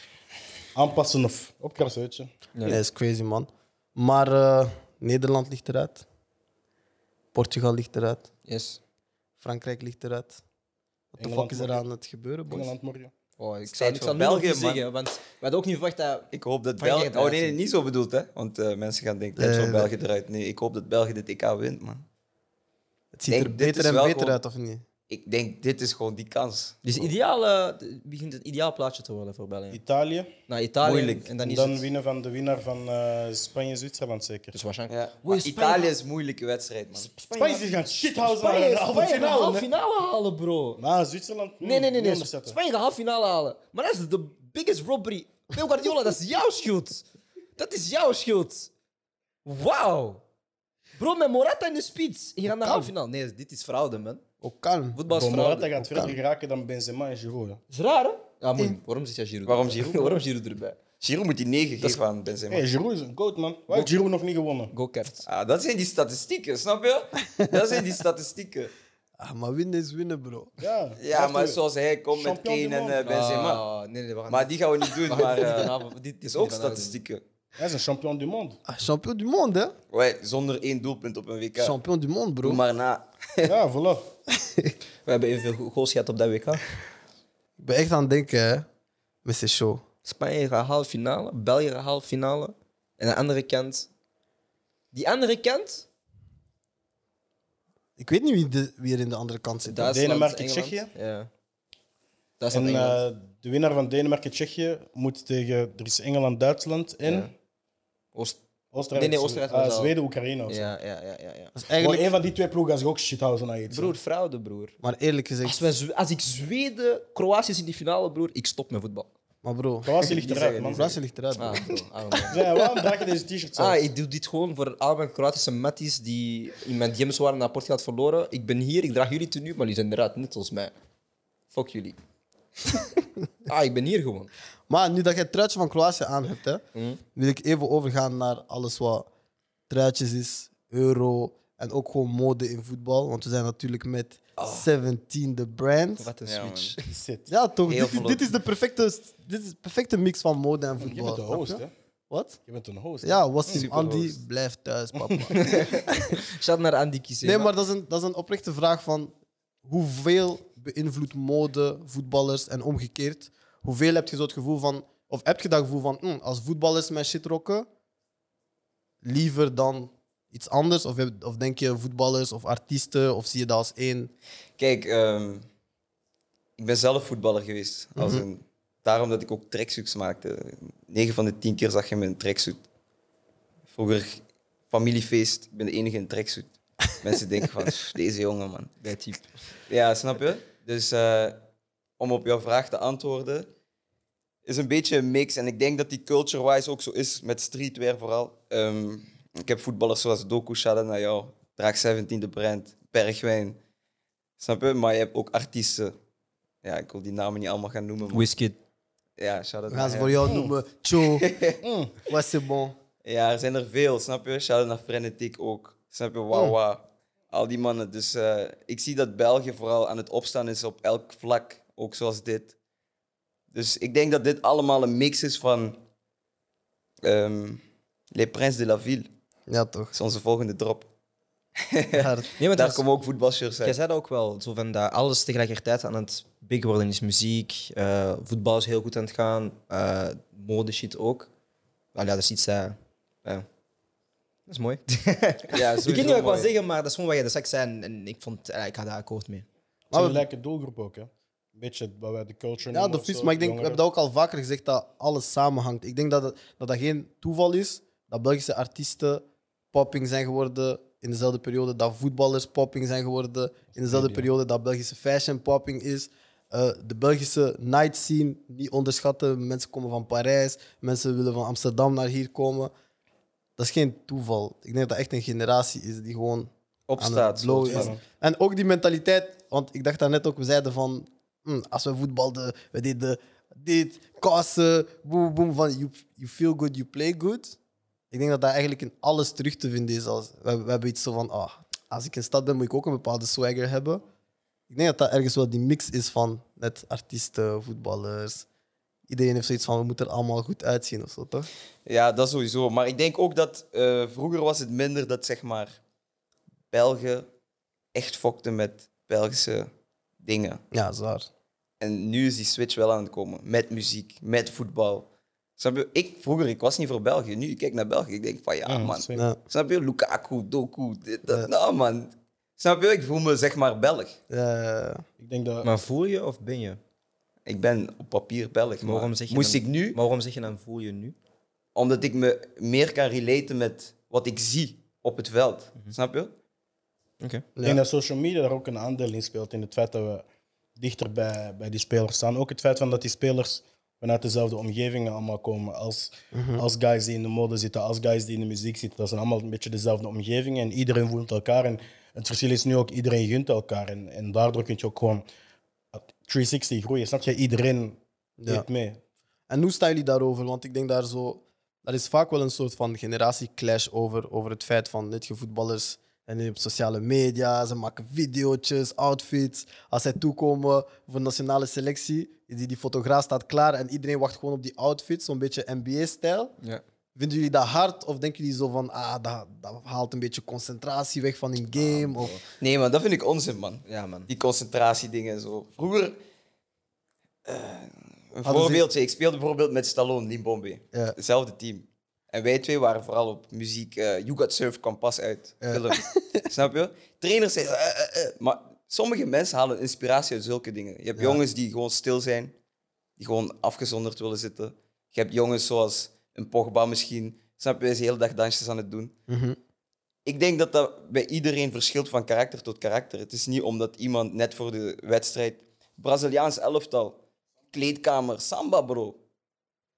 Speaker 2: aanpassen of opkrassen, weet je.
Speaker 3: Nee, dat is crazy, man. Maar eh, Nederland ligt eruit. Portugal ligt eruit.
Speaker 4: Yes.
Speaker 3: Frankrijk ligt eruit. Wat de
Speaker 2: Engeland
Speaker 3: fuck is er
Speaker 2: mag-
Speaker 3: aan het gebeuren, boys?
Speaker 2: Engeland morgen.
Speaker 4: Oh, ik zou
Speaker 1: tijd
Speaker 4: ik
Speaker 1: voor
Speaker 4: zou het België
Speaker 1: België, man.
Speaker 4: zeggen, want we hadden ook niet verwacht dat...
Speaker 1: Ik hoop dat
Speaker 4: Frankrijk
Speaker 1: België... Oh nee, nee,
Speaker 4: eruit
Speaker 1: niet zo bedoeld, hè. Want eh, mensen gaan denken, tijd
Speaker 3: Eh,
Speaker 1: van België eruit. Nee, ik hoop dat België dit EK wint, man.
Speaker 3: Het ziet er
Speaker 1: Denk, dit
Speaker 3: beter
Speaker 1: is
Speaker 3: en
Speaker 1: wel
Speaker 3: beter
Speaker 1: gewoon-
Speaker 3: uit, of niet?
Speaker 1: Ik denk, dit is gewoon die kans.
Speaker 4: Dus ideaal, eh, begint het ideaal plaatje te worden voor België.
Speaker 2: Italië.
Speaker 4: Naar Italië
Speaker 1: Moeilijk.
Speaker 4: en dan
Speaker 2: En
Speaker 4: is
Speaker 2: dan
Speaker 4: het...
Speaker 2: winnen van de winnaar van eh, Spanje en Zwitserland zeker.
Speaker 4: Dus waarschijnlijk...
Speaker 1: Ja.
Speaker 4: Oei,
Speaker 1: Maar Italië is een moeilijke wedstrijd, man.
Speaker 2: Spanje is gaan shithousen aan
Speaker 4: Spanje,
Speaker 2: de halve
Speaker 4: Spanje de halve
Speaker 2: finale. hè.
Speaker 4: finale halen, bro.
Speaker 2: Maar Zwitserland... hmm,
Speaker 4: Nee, nee, nee. nee.
Speaker 2: nee.
Speaker 4: Spanje de halve finale halen. Maar dat is de biggest robbery. Pep Guardiola, dat is jouw schuld. Dat is jouw schuld. Wauw. Bro, met Morata in de spits. Je gaat naar de halve finale. Nee, dit is fraude, man.
Speaker 3: Ook Oh, kalm.
Speaker 4: Voetbal is
Speaker 2: Morata
Speaker 4: fraude.
Speaker 2: gaat verder geraken dan Benzema en Giroud. hè.
Speaker 4: is raar, hè? Ja, moeilijk. Waarom zit jij Giroud?
Speaker 1: Waarom Giroud?
Speaker 4: Waarom Giroud erbij?
Speaker 1: Giroud moet die 9 geven aan Benzema.
Speaker 2: Hey, Giroud is een goat, man. Waar heeft Giroud nog niet gewonnen?
Speaker 4: Go Kert.
Speaker 1: Ah, dat zijn die statistieken, snap je? Dat zijn die statistieken.
Speaker 3: Ah, maar winnen is winnen, bro.
Speaker 2: Ja,
Speaker 1: Ja, maar
Speaker 2: Heeft hij-
Speaker 1: zoals hij komt met
Speaker 2: Champion
Speaker 1: Kane
Speaker 2: du
Speaker 1: en
Speaker 2: monde.
Speaker 1: eh, Benzema.
Speaker 4: Ah, nee, nee, we gaan
Speaker 1: Maar die gaan we niet doen, maar eh,
Speaker 4: dit
Speaker 1: is ook statistieken.
Speaker 2: Hij is een champion du monde.
Speaker 3: Ah, champion du monde, hè?
Speaker 1: Wij, zonder één doelpunt op een WK.
Speaker 3: Champion du monde,
Speaker 1: Doe
Speaker 3: bro.
Speaker 1: maar na.
Speaker 2: Ja, voilà.
Speaker 4: We hebben evenveel goals gehad op dat WK.
Speaker 3: Ik ben echt aan het denken, hè. Met zijn show.
Speaker 4: Spanje gaat halve finale, België gaat halve finale. En aan de andere kant. Die andere kant?
Speaker 3: Ik weet niet wie, de, wie er in de andere kant zit.
Speaker 4: Duitsland,
Speaker 2: Denemarken,
Speaker 4: Engeland.
Speaker 2: Tsjechië?
Speaker 4: Ja. Duitsland,
Speaker 2: En
Speaker 4: Engeland.
Speaker 2: eh, de winnaar van Denemarken-Tsjechië moet tegen... Er is Engeland-Duitsland en
Speaker 4: Oost-
Speaker 2: Oostenrijk.
Speaker 4: Nee, nee,
Speaker 2: is-
Speaker 4: Oostenrijk
Speaker 2: ah,
Speaker 4: was al-
Speaker 2: Zweden, Oekraïne of zo.
Speaker 4: Ja, ja, ja, ja. ja.
Speaker 3: Dat is
Speaker 2: Maar
Speaker 3: eigenlijk,
Speaker 2: een van die twee ploegen is ook shithousen aan iets.
Speaker 4: Broer, fraude, broer.
Speaker 3: maar eerlijk gezegd,
Speaker 4: Als, wij, Zwe- als ik Zweden, Kroatië is in die finale, broer, ik stop met voetbal.
Speaker 3: maar bro,
Speaker 2: Kroatië ligt eruit, man.
Speaker 3: Fransje ligt eruit. bro.
Speaker 4: Ah, bro, ah, man.
Speaker 2: Zij, waarom draag je deze t-shirt zelf?
Speaker 4: Ah, ik doe dit gewoon voor al mijn Kroatische matties die in mijn DM's waren naar Portugal verloren. Ik ben hier, ik draag jullie tenue, maar jullie zijn eruit, net als mij. Fuck jullie. ah, ik ben hier gewoon.
Speaker 3: Maar nu dat jij het truitje van Kroatië aan hebt, hè, wil ik even overgaan naar alles wat truitjes is, euro en ook gewoon mode in voetbal. Want we zijn natuurlijk met 17 de brand.
Speaker 4: Wat een
Speaker 1: Ja, man.
Speaker 4: switch.
Speaker 2: Zit.
Speaker 3: Ja, toch?
Speaker 1: Heel
Speaker 3: Dit is,
Speaker 1: vlot.
Speaker 3: dit is de perfecte, dit is de perfecte mix van mode en
Speaker 2: Je
Speaker 3: voetbal.
Speaker 2: bent de host,
Speaker 3: snap
Speaker 2: hè?
Speaker 3: je? Wat?
Speaker 2: Je bent een host. hè?
Speaker 3: Ja, Wassim
Speaker 1: Superhost.
Speaker 3: Andy, blijf thuis, papa.
Speaker 4: Shout naar Andy Kizema.
Speaker 3: Nee, maar dat is, een, dat is een oprechte vraag van hoeveel beïnvloedt mode voetballers en omgekeerd? Hoeveel heb je zo het gevoel van, of heb je dat gevoel van, "Hm, als voetballers mijn shit rocken, liever dan iets anders? Of, heb- of denk je voetballers of artiesten, of zie je dat als één?
Speaker 1: Kijk, ehm, ik ben zelf voetballer geweest. Als een, daarom dat ik ook tracksuits maakte. 9 van de 10 keer zag je me in een tracksuit. Vroeger familiefeest, ik ben de enige in een tracksuit. Mensen denken van, "Pff, deze jongen man.
Speaker 4: Dat type.
Speaker 1: Ja, snap je? Dus eh, om op jouw vraag te antwoorden, is een beetje een mix. En ik denk dat die culture-wise ook zo is, met streetwear vooral. Ehm, ik heb voetballers zoals Doku, shout naar jou. Draag 17 de brand, Bergwijn. Snap je? Maar je hebt ook artiesten. Ja, ik wil die namen niet allemaal gaan noemen. Maar...
Speaker 4: Whisky.
Speaker 1: Ja, shout-out
Speaker 3: We gaan ze
Speaker 1: naar
Speaker 3: voor
Speaker 1: hem.
Speaker 3: jou noemen, Cho, was c'est bon.
Speaker 1: Ja, er zijn er veel, snap je? Shout-out naar Frenetic ook. Snap je?
Speaker 4: Oh.
Speaker 1: Wawa. Al die mannen. Dus eh, ik zie dat België vooral aan het opstaan is op elk vlak. Ook zoals dit. Dus ik denk dat dit allemaal een mix is van... ehm, Les Princes de la Ville.
Speaker 3: Ja, toch?
Speaker 1: Dat is onze volgende drop.
Speaker 3: Hard.
Speaker 4: Nee, maar
Speaker 1: Daar
Speaker 4: dat is-
Speaker 1: komen ook voetbalshirts
Speaker 4: Jij
Speaker 1: uit.
Speaker 4: zei dat ook wel, zo van dat alles tegelijkertijd aan het big worden is. Muziek, eh, voetbal is heel goed aan het gaan, eh mode shit ook. Allee, dat is iets... eh, ja. dat is mooi.
Speaker 1: Ja,
Speaker 4: ik weet niet wat ik wil zeggen, maar dat is gewoon wat jij straks zei en, en ik, vond, eh, ik had daar akkoord mee.
Speaker 2: Het is een lijke doelgroep ook, hè? Een beetje wat wij de culture
Speaker 3: Ja,
Speaker 2: noemen
Speaker 3: de
Speaker 2: of
Speaker 3: fiets,
Speaker 2: zo,
Speaker 3: maar ik denk, we
Speaker 2: jongeren.
Speaker 3: hebben dat ook al vaker gezegd, dat alles samenhangt. Ik denk dat het- dat, dat geen toeval is dat Belgische artiesten popping zijn geworden in dezelfde periode dat voetballers popping zijn geworden in dezelfde periode dat Belgische fashion popping is. Eh, de Belgische night scene niet onderschatten. Mensen komen van Parijs, mensen willen van Amsterdam naar hier komen. Dat is geen toeval. Ik denk dat dat echt een generatie is die gewoon aan
Speaker 1: Opstaat.
Speaker 3: het blowen
Speaker 1: soort
Speaker 3: is.
Speaker 1: van.
Speaker 3: En ook die mentaliteit, want ik dacht daarnet ook, we zeiden van, hm, als we voetbalden, we deden dit, kassen, boem, boem, van you, you feel good, you play good. Ik denk dat dat eigenlijk in alles terug te vinden is. Als, we, we hebben iets zo van, ah, als ik in stad ben, moet ik ook een bepaalde swagger hebben. Ik denk dat dat ergens wel die mix is van net artiesten, voetballers. Iedereen heeft zoiets van, we moeten er allemaal goed uitzien of zo, toch?
Speaker 1: Ja, dat sowieso. Maar ik denk ook dat eh, vroeger was het minder dat zeg maar Belgen echt fokten met Belgische dingen.
Speaker 3: Ja, zwaar.
Speaker 1: En nu is die switch wel aan het komen. Met muziek, met voetbal. Snap je? Ik, vroeger, ik was niet voor België. Nu, ik kijk naar België. Ik denk van, ja,
Speaker 2: Ja,
Speaker 1: Ah, man.
Speaker 2: zeker.
Speaker 3: Ja,
Speaker 1: Snap je? Lukaku, Doku, dit, dat. Nou, man. Snap je? Ik voel me, zeg maar, Belg.
Speaker 3: eh,
Speaker 2: Ik denk dat.
Speaker 4: Maar voel je of ben je?
Speaker 1: Ik ben op papier Belg.
Speaker 4: Maar waarom
Speaker 1: maar
Speaker 4: zeg je
Speaker 1: moest
Speaker 4: dan-
Speaker 1: ik nu?
Speaker 4: Maar waarom zeg je dan voel je nu?
Speaker 1: Omdat ik me meer kan relaten met wat ik zie op het veld.
Speaker 4: Mhm.
Speaker 1: Snap je?
Speaker 4: Oké.
Speaker 2: Ik denk dat social media daar ook een aandeel in speelt. In het feit dat we dichter bij, bij die spelers staan. Ook het feit van dat die spelers vanuit dezelfde omgevingen allemaal komen. Als, als guys die in de mode zitten, als guys die in de muziek zitten. Dat zijn allemaal een beetje dezelfde omgevingen. En iedereen voelt elkaar. En het verschil is nu ook, iedereen gunt elkaar. En, en daardoor kun je ook gewoon 360 groeien. Snap je? Iedereen
Speaker 3: Ja.
Speaker 2: doet mee.
Speaker 3: En hoe staan jullie daarover? Want ik denk daar zo. Daar is vaak wel een soort van generatieclash over. Over het feit van net je voetballers en die op sociale media. Ze maken video's, outfits. Als zij toekomen voor nationale selectie, die, die fotograaf staat klaar en iedereen wacht gewoon op die outfits. Zo'n beetje NBA-stijl.
Speaker 4: Ja.
Speaker 3: Vinden jullie dat hard? Of denken jullie zo van, ah, dat, dat haalt een beetje concentratie weg van hun game? Of,
Speaker 1: Nee, man, dat vind ik onzin, man.
Speaker 4: Ja, man.
Speaker 1: Die concentratiedingen en zo. Vroeger. eh, een
Speaker 3: Hadden ze-
Speaker 1: voorbeeldje. Ik speelde bijvoorbeeld met Stallone, Limbombe.
Speaker 3: Ja.
Speaker 1: Hetzelfde team. En wij twee waren vooral op muziek. eh, you Got Surf kwam pas uit. Film. Snap je? Trainers zeiden. eh, eh, eh. Maar sommige mensen halen inspiratie uit zulke dingen. Je hebt jongens die gewoon stil zijn, die gewoon afgezonderd willen zitten. Je hebt jongens zoals een Pogba misschien, Snap je, is de hele dag dansjes aan het doen.
Speaker 3: Mhm.
Speaker 1: Ik denk dat dat bij iedereen verschilt van karakter tot karakter. Het is niet omdat iemand net voor de wedstrijd. Braziliaans elftal, kleedkamer, samba, bro.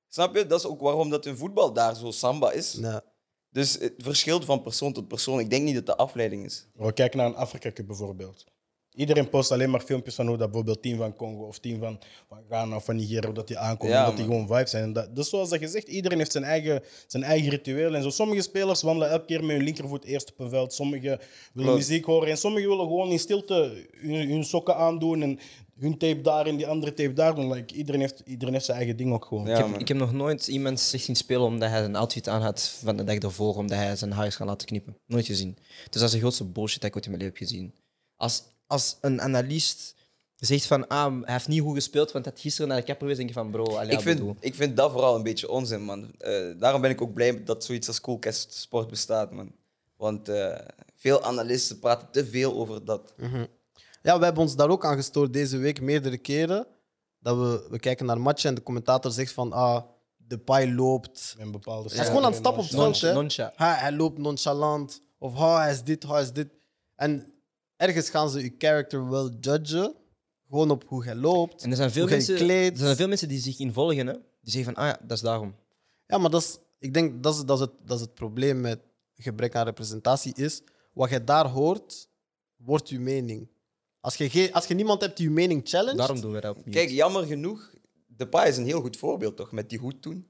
Speaker 1: Snap je? Dat is ook waarom dat hun voetbal daar zo samba is.
Speaker 3: Nee.
Speaker 1: Dus het verschilt van persoon tot persoon. Ik denk niet dat de afleiding is.
Speaker 2: Maar Kijk naar een Afrika Cup bijvoorbeeld. Iedereen post alleen maar filmpjes van hoe dat bijvoorbeeld team van Congo of team van, van Ghana of van Nigeria, hoe dat die aankomen,
Speaker 1: Ja,
Speaker 2: dat die
Speaker 1: man.
Speaker 2: gewoon vibes zijn. En dat, dus zoals dat gezegd, iedereen heeft zijn eigen, zijn eigen ritueel. En zo, sommige spelers wandelen elke keer met hun linkervoet eerst op een veld. Sommigen willen
Speaker 1: Klopt.
Speaker 2: muziek horen en sommigen willen gewoon in stilte hun, hun sokken aandoen en hun tape daar en die andere tape daar doen. Like, iedereen, heeft, iedereen heeft zijn eigen ding ook gewoon.
Speaker 1: Ja,
Speaker 4: ik, heb,
Speaker 1: man.
Speaker 4: ik heb nog nooit iemand zich zien spelen omdat hij zijn outfit aan had van de dag ervoor, omdat hij zijn haar is gaan laten knippen. Nooit gezien. Dus dat is de grootste bullshit dat ik ooit in mijn leven heb gezien. Als, als een analist zegt van, ah, hij heeft niet goed gespeeld, want hij had gisteren naar de kapper geweest, denk je van, bro, allee,
Speaker 1: ik, vind, ik vind dat vooral een beetje onzin, man. Eh, daarom ben ik ook blij dat zoiets als Coolcast Sport bestaat, man. Want eh, veel analisten praten te veel over dat.
Speaker 3: Ja, we hebben ons daar ook aan gestoord deze week meerdere keren. Dat we, we kijken naar matchen en de commentator zegt van ah, de paai loopt.
Speaker 2: Met een bepaalde
Speaker 3: Hij is gewoon aan het stappen op het veld. hè.
Speaker 4: noncha.
Speaker 3: Ha, hij loopt nonchalant. Of ha, hij is dit, ha, hij is dit. En ergens gaan ze je character wel judgen. Gewoon op hoe hij loopt.
Speaker 4: En er zijn, veel
Speaker 3: hoe hij
Speaker 4: mensen,
Speaker 3: kleedt.
Speaker 4: er zijn veel mensen die zich involgen, hè. Die zeggen van, ah ja, dat is daarom.
Speaker 3: Ja, maar dat is, ik denk dat is, dat, is het, dat is het probleem met gebrek aan representatie is. Wat je daar hoort, wordt je mening. Als je, geen- als je niemand hebt die je mening challenge,
Speaker 4: Daarom doen we dat opnieuw.
Speaker 1: Kijk, jammer genoeg, Depay is een heel goed voorbeeld, toch? Met die hoed toen.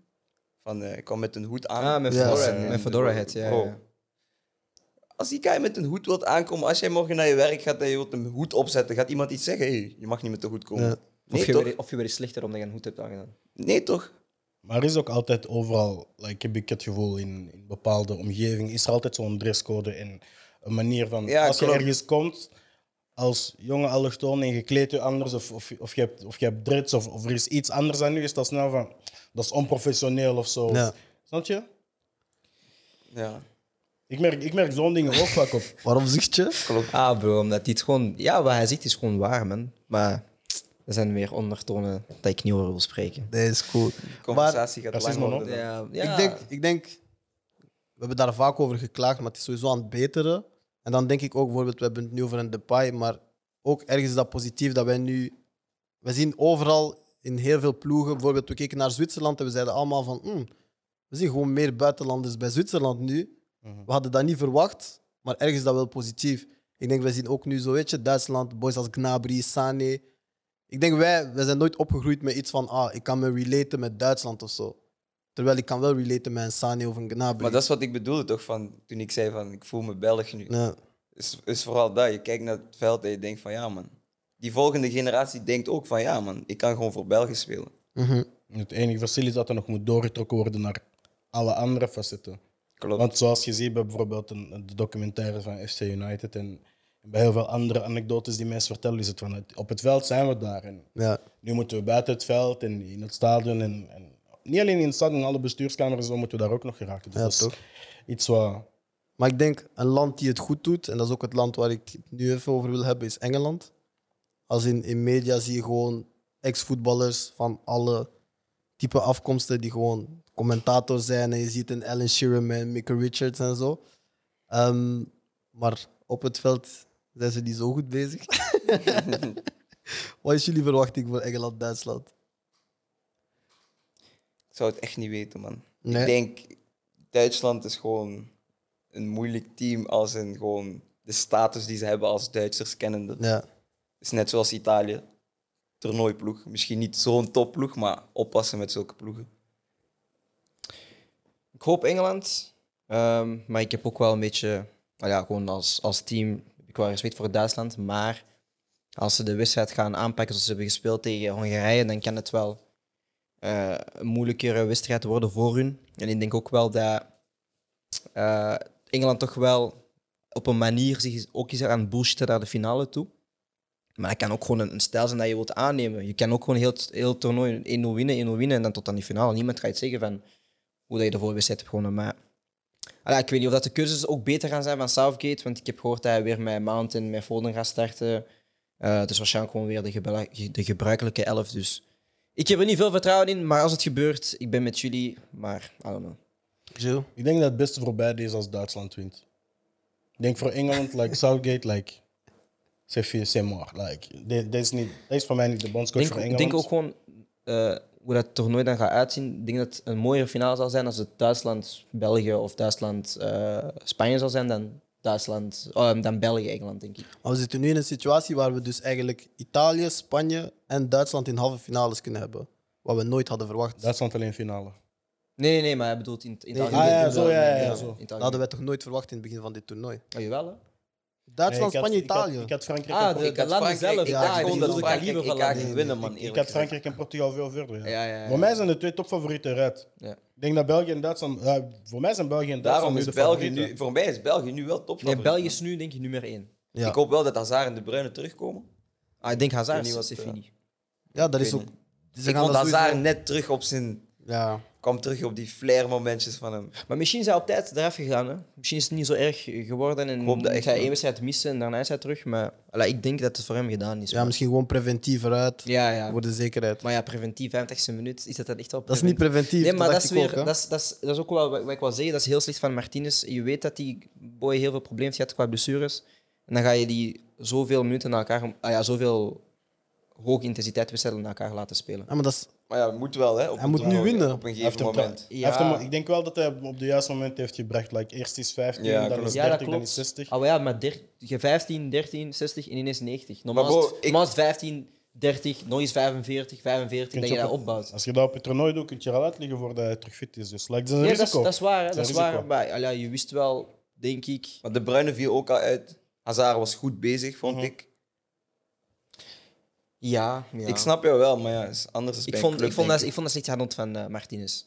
Speaker 1: Van, eh, ik kwam met een hoed aan.
Speaker 4: Ah, met
Speaker 3: Ja,
Speaker 4: Fedora,
Speaker 1: en-
Speaker 4: met Fedora head, ja.
Speaker 1: Bro,
Speaker 4: ja.
Speaker 1: Als die guy met een hoed wilt aankomen, als jij morgen naar je werk gaat en je wilt een hoed opzetten, gaat iemand iets zeggen? Hey, je mag niet met de hoed komen.
Speaker 3: Ja.
Speaker 1: Nee,
Speaker 4: Of, je
Speaker 1: toch?
Speaker 4: weer, of je weer is slechter omdat je een hoed hebt aangedaan.
Speaker 1: Nee, toch?
Speaker 2: Maar er is ook altijd overal, like, heb ik het gevoel, in, in bepaalde omgeving, is er altijd zo'n dresscode en een manier van,
Speaker 1: Ja,
Speaker 2: als je
Speaker 1: klopt.
Speaker 2: ergens komt, als jonge allochtoon en je kleedt je anders, of, of, of, je hebt, of je hebt dreads, of, of er is iets anders aan je, is dat snel van, dat is onprofessioneel of zo.
Speaker 3: Ja.
Speaker 2: Snap je?
Speaker 1: Ja,
Speaker 2: Ik merk, ik merk zo'n dingen ook vaak op.
Speaker 3: waarom zucht je?
Speaker 1: klopt.
Speaker 4: Ah, bro, omdat dit gewoon. Ja, wat hij ziet is gewoon waar, man. Maar er zijn weer ondertonen dat ik niet over wil spreken.
Speaker 3: Dat is cool.
Speaker 1: De conversatie gaat lang
Speaker 2: racisme
Speaker 1: worden.
Speaker 2: nog?
Speaker 4: Ja, ja.
Speaker 3: Ik, denk, ik denk, we hebben daar vaak over geklaagd, maar het is sowieso aan het beteren. En dan denk ik ook bijvoorbeeld, we hebben het nu over een Depay, maar ook ergens is dat positief dat wij nu, we zien overal in heel veel ploegen, bijvoorbeeld we keken naar Zwitserland en we zeiden allemaal van, "Hmm, we zien gewoon meer buitenlanders bij Zwitserland nu.
Speaker 1: Mhm.
Speaker 3: We hadden dat niet verwacht, maar ergens is dat wel positief. Ik denk, we zien ook nu zo, weet je, Duitsland, boys als Gnabry, Sané. Ik denk, wij, wij zijn nooit opgegroeid met iets van, ah, ik kan me relaten met Duitsland of zo. Terwijl ik kan wel relaten met een Sané of een Gnabry.
Speaker 1: Maar dat is wat ik bedoelde, toch? Van, toen ik zei van, ik voel me Belg nu.
Speaker 3: Ja.
Speaker 1: Is, is vooral dat. Je kijkt naar het veld en je denkt van, ja man. Die volgende generatie denkt ook van, ja man, ik kan gewoon voor België spelen.
Speaker 3: Mhm.
Speaker 2: Het enige verschil is dat er nog moet doorgetrokken worden naar alle andere facetten.
Speaker 1: Klopt.
Speaker 2: Want zoals je ziet bij bijvoorbeeld een, de documentaire van FC United en bij heel veel andere anekdotes die mensen vertellen, is het van het, op het veld zijn we daar. En
Speaker 3: ja.
Speaker 2: nu moeten we buiten het veld en in het stadion. En, en niet alleen in het stadion, in alle bestuurskamers, zo moeten we daar ook nog geraken. Dus
Speaker 3: Ja,
Speaker 2: dat is
Speaker 3: toch?
Speaker 2: iets wat.
Speaker 3: Maar ik denk, een land die het goed doet, en dat is ook het land waar ik het nu even over wil hebben, is Engeland. Als in, in media zie je gewoon ex-voetballers van alle type afkomsten die gewoon commentator zijn. En je ziet een Alan Shearer met Mickey Richards en zo. Ehm, maar op het veld zijn ze niet zo goed bezig. Wat is jullie verwachting voor Engeland-Duitsland?
Speaker 1: Ik zou het echt niet weten, man.
Speaker 3: Nee.
Speaker 1: Ik denk, Duitsland is gewoon een moeilijk team als in gewoon de status die ze hebben als Duitsers kennende.
Speaker 3: Ja.
Speaker 1: is net zoals Italië. Toernooiploeg. Misschien niet zo'n topploeg, maar oppassen met zulke ploegen.
Speaker 4: Ik hoop Engeland. Ehm, maar ik heb ook wel een beetje. Nou ja, gewoon als, als team. heb Ik wel respect voor Duitsland. Maar als ze de wedstrijd gaan aanpakken zoals ze hebben gespeeld tegen Hongarije. dan kan het wel eh, een moeilijkere wedstrijd worden voor hun. En ik denk ook wel dat eh, Engeland toch wel op een manier zich ook is aan het bullshitten naar de finale toe. Maar dat kan ook gewoon een, een stijl zijn dat je wilt aannemen. Je kan ook gewoon heel, het- heel het toernooi 1-0 winnen, 1-0 winnen en dan tot aan die finale. Niemand gaat zeggen van hoe dat je de vorige wedstrijd hebt gewonnen. Maar Allee, ik weet niet of dat de cursus ook beter gaan zijn van Southgate. Want ik heb gehoord dat hij weer met Mount en met Foden gaat starten. Eh dus waarschijnlijk gewoon weer de, gebru- de gebruikelijke elf. Dus ik heb er niet veel vertrouwen in. Maar als het gebeurt, ik ben met jullie. Maar I don't know.
Speaker 3: Zo.
Speaker 2: Ik denk dat het beste voor beide is als Duitsland wint. Ik denk voor Engeland, like Southgate, like. C'est fait, c'est mort. Like, dit- dit is niet- dit is voor mij niet de bondscoach
Speaker 4: Ik
Speaker 2: voor
Speaker 4: denk,
Speaker 2: Engeland.
Speaker 4: denk ook gewoon eh, hoe dat toernooi dan gaat uitzien. Ik denk dat het een mooiere finale zal zijn als het Duitsland-België of Duitsland-Spanje zal zijn dan, Duitsland, eh, dan België-Engeland, denk ik.
Speaker 3: Maar we zitten nu in een situatie waar we dus eigenlijk Italië, Spanje en Duitsland in halve finales kunnen hebben. Wat we nooit hadden verwacht. Dat
Speaker 2: Duitsland alleen finale.
Speaker 4: Nee, nee, nee, maar hij bedoelt in het in het
Speaker 3: Nee,
Speaker 4: algemeen.
Speaker 3: ah, ja,
Speaker 4: In het
Speaker 2: zo, ja, ja,
Speaker 4: algemeen,
Speaker 2: ja, zo.
Speaker 4: in het algemeen.
Speaker 3: hadden wij toch nooit verwacht in het begin van dit toernooi.
Speaker 4: Oh, jawel, hè?
Speaker 3: Duitsland,
Speaker 2: Nee, ik had-
Speaker 3: Spanje,
Speaker 2: ik had-
Speaker 3: Italië.
Speaker 2: Ik had Frankrijk en
Speaker 4: Ah,
Speaker 2: Por-
Speaker 4: de,
Speaker 1: Ik
Speaker 4: de
Speaker 1: had
Speaker 4: landen
Speaker 1: Frankrijk-
Speaker 4: zelf.
Speaker 1: Ik
Speaker 3: Ja,
Speaker 1: dacht
Speaker 3: die
Speaker 1: gewoon
Speaker 3: bedoel
Speaker 1: dat
Speaker 3: ik
Speaker 1: Frankrijk
Speaker 4: liever
Speaker 1: ik
Speaker 4: van
Speaker 1: ga
Speaker 4: laten
Speaker 1: niet
Speaker 4: winnen.
Speaker 1: winnen, man.
Speaker 2: Ik
Speaker 1: eerlijk
Speaker 2: had
Speaker 1: gezegd.
Speaker 2: Frankrijk en Portugal veel verder. Ja.
Speaker 4: Ja, ja, ja.
Speaker 2: Voor mij zijn de twee topfavorieten eruit.
Speaker 4: Ja.
Speaker 2: Ik denk dat België en Duitsland. eh, voor mij zijn België en Duitsland.
Speaker 1: Daarom
Speaker 2: nu
Speaker 1: is
Speaker 2: de
Speaker 1: België
Speaker 2: favorieten.
Speaker 1: nu, voor mij is België nu wel top.
Speaker 4: Nee, België is nu denk ik nummer één.
Speaker 3: Ja.
Speaker 1: Ik hoop wel dat Hazard en De Bruyne terugkomen.
Speaker 4: Ah, ik denk Hazard,
Speaker 1: Ik weet niet
Speaker 4: is
Speaker 1: wat, eh,
Speaker 4: fini.
Speaker 3: ja, dat
Speaker 1: Ik
Speaker 3: is
Speaker 1: weet
Speaker 3: ook. Ze
Speaker 1: Ik
Speaker 3: gaan
Speaker 1: vond
Speaker 3: dat
Speaker 1: Hazard
Speaker 3: sowieso-
Speaker 1: net terug op zijn...
Speaker 3: Ja.
Speaker 1: kwam terug op die flair-momentjes van hem.
Speaker 4: Maar misschien is hij op tijd eraf gegaan. Hè? Misschien is het niet zo erg geworden en
Speaker 1: hoop dat
Speaker 4: moet
Speaker 1: echt
Speaker 4: hij
Speaker 1: wel.
Speaker 4: één wedstrijd missen en daarna is hij terug. Maar allee, ik denk dat het voor hem gedaan is.
Speaker 3: ja,
Speaker 4: maar-
Speaker 3: misschien gewoon preventief eruit.
Speaker 4: ja, ja.
Speaker 3: Voor de zekerheid.
Speaker 4: Maar ja, preventief, 50ste minuut, is dat dan echt wel
Speaker 3: Dat is niet preventief.
Speaker 4: Nee, maar dat,
Speaker 3: dacht
Speaker 4: is
Speaker 3: ik ook,
Speaker 4: weer,
Speaker 3: hè.
Speaker 4: dat, is, dat, is, dat is ook wel wat, wat ik wil zeggen. Dat is heel slecht van Martinez. Je weet dat die boy heel veel problemen heeft gehad qua blessures. En dan ga je die zoveel minuten na elkaar, ah ja, zoveel hoge intensiteit wedstrijden na elkaar laten spelen.
Speaker 3: Ja, maar dat is-
Speaker 1: Maar ja, moet wel, hè? Op
Speaker 3: Hij
Speaker 1: een
Speaker 3: moet nu
Speaker 1: toernooi,
Speaker 3: winnen.
Speaker 1: Op een
Speaker 2: Hij heeft
Speaker 1: gegeven
Speaker 2: hem
Speaker 1: moment.
Speaker 2: tra-
Speaker 4: Ja.
Speaker 2: hij heeft hem- ik denk wel dat hij hem op de juiste moment heeft gebracht. Like, eerst is 15,
Speaker 1: Ja,
Speaker 2: dan
Speaker 1: klopt.
Speaker 2: is
Speaker 1: Dus
Speaker 4: Ja, dat
Speaker 2: 30, dan
Speaker 4: klopt.
Speaker 2: is 60.
Speaker 4: Ah, maar ja, maar der- je 15, 13, 60 en ineens 90. Normaal,
Speaker 1: Maar bro,
Speaker 4: is, het-
Speaker 1: ik-
Speaker 4: normaal is het 15, 30, nog eens 45, 45,
Speaker 2: Kunt
Speaker 4: dat
Speaker 2: je
Speaker 4: je dat
Speaker 2: op-
Speaker 4: opbouwt.
Speaker 2: Als je dat op het toernooi doet, kun je er al uitliggen voordat hij terug fit is. Dus like, dat is een
Speaker 4: Ja, dat, is,
Speaker 2: risico.
Speaker 4: dat is waar, hè,
Speaker 2: Dat
Speaker 4: dat,
Speaker 2: is een
Speaker 4: is waar.
Speaker 2: risico.
Speaker 4: Maar allee, je wist wel, denk ik...
Speaker 1: Maar De Bruyne viel ook al uit. Hazard was goed bezig, vond
Speaker 2: Mhm.
Speaker 1: ik.
Speaker 4: Ja, ja.
Speaker 1: Ik snap jou wel, maar ja, is anders is
Speaker 4: Ik
Speaker 1: bij
Speaker 4: vond,
Speaker 1: een club,
Speaker 4: ik, vond
Speaker 1: denk
Speaker 4: dat, ik vond dat slecht handeld van eh, Martinez.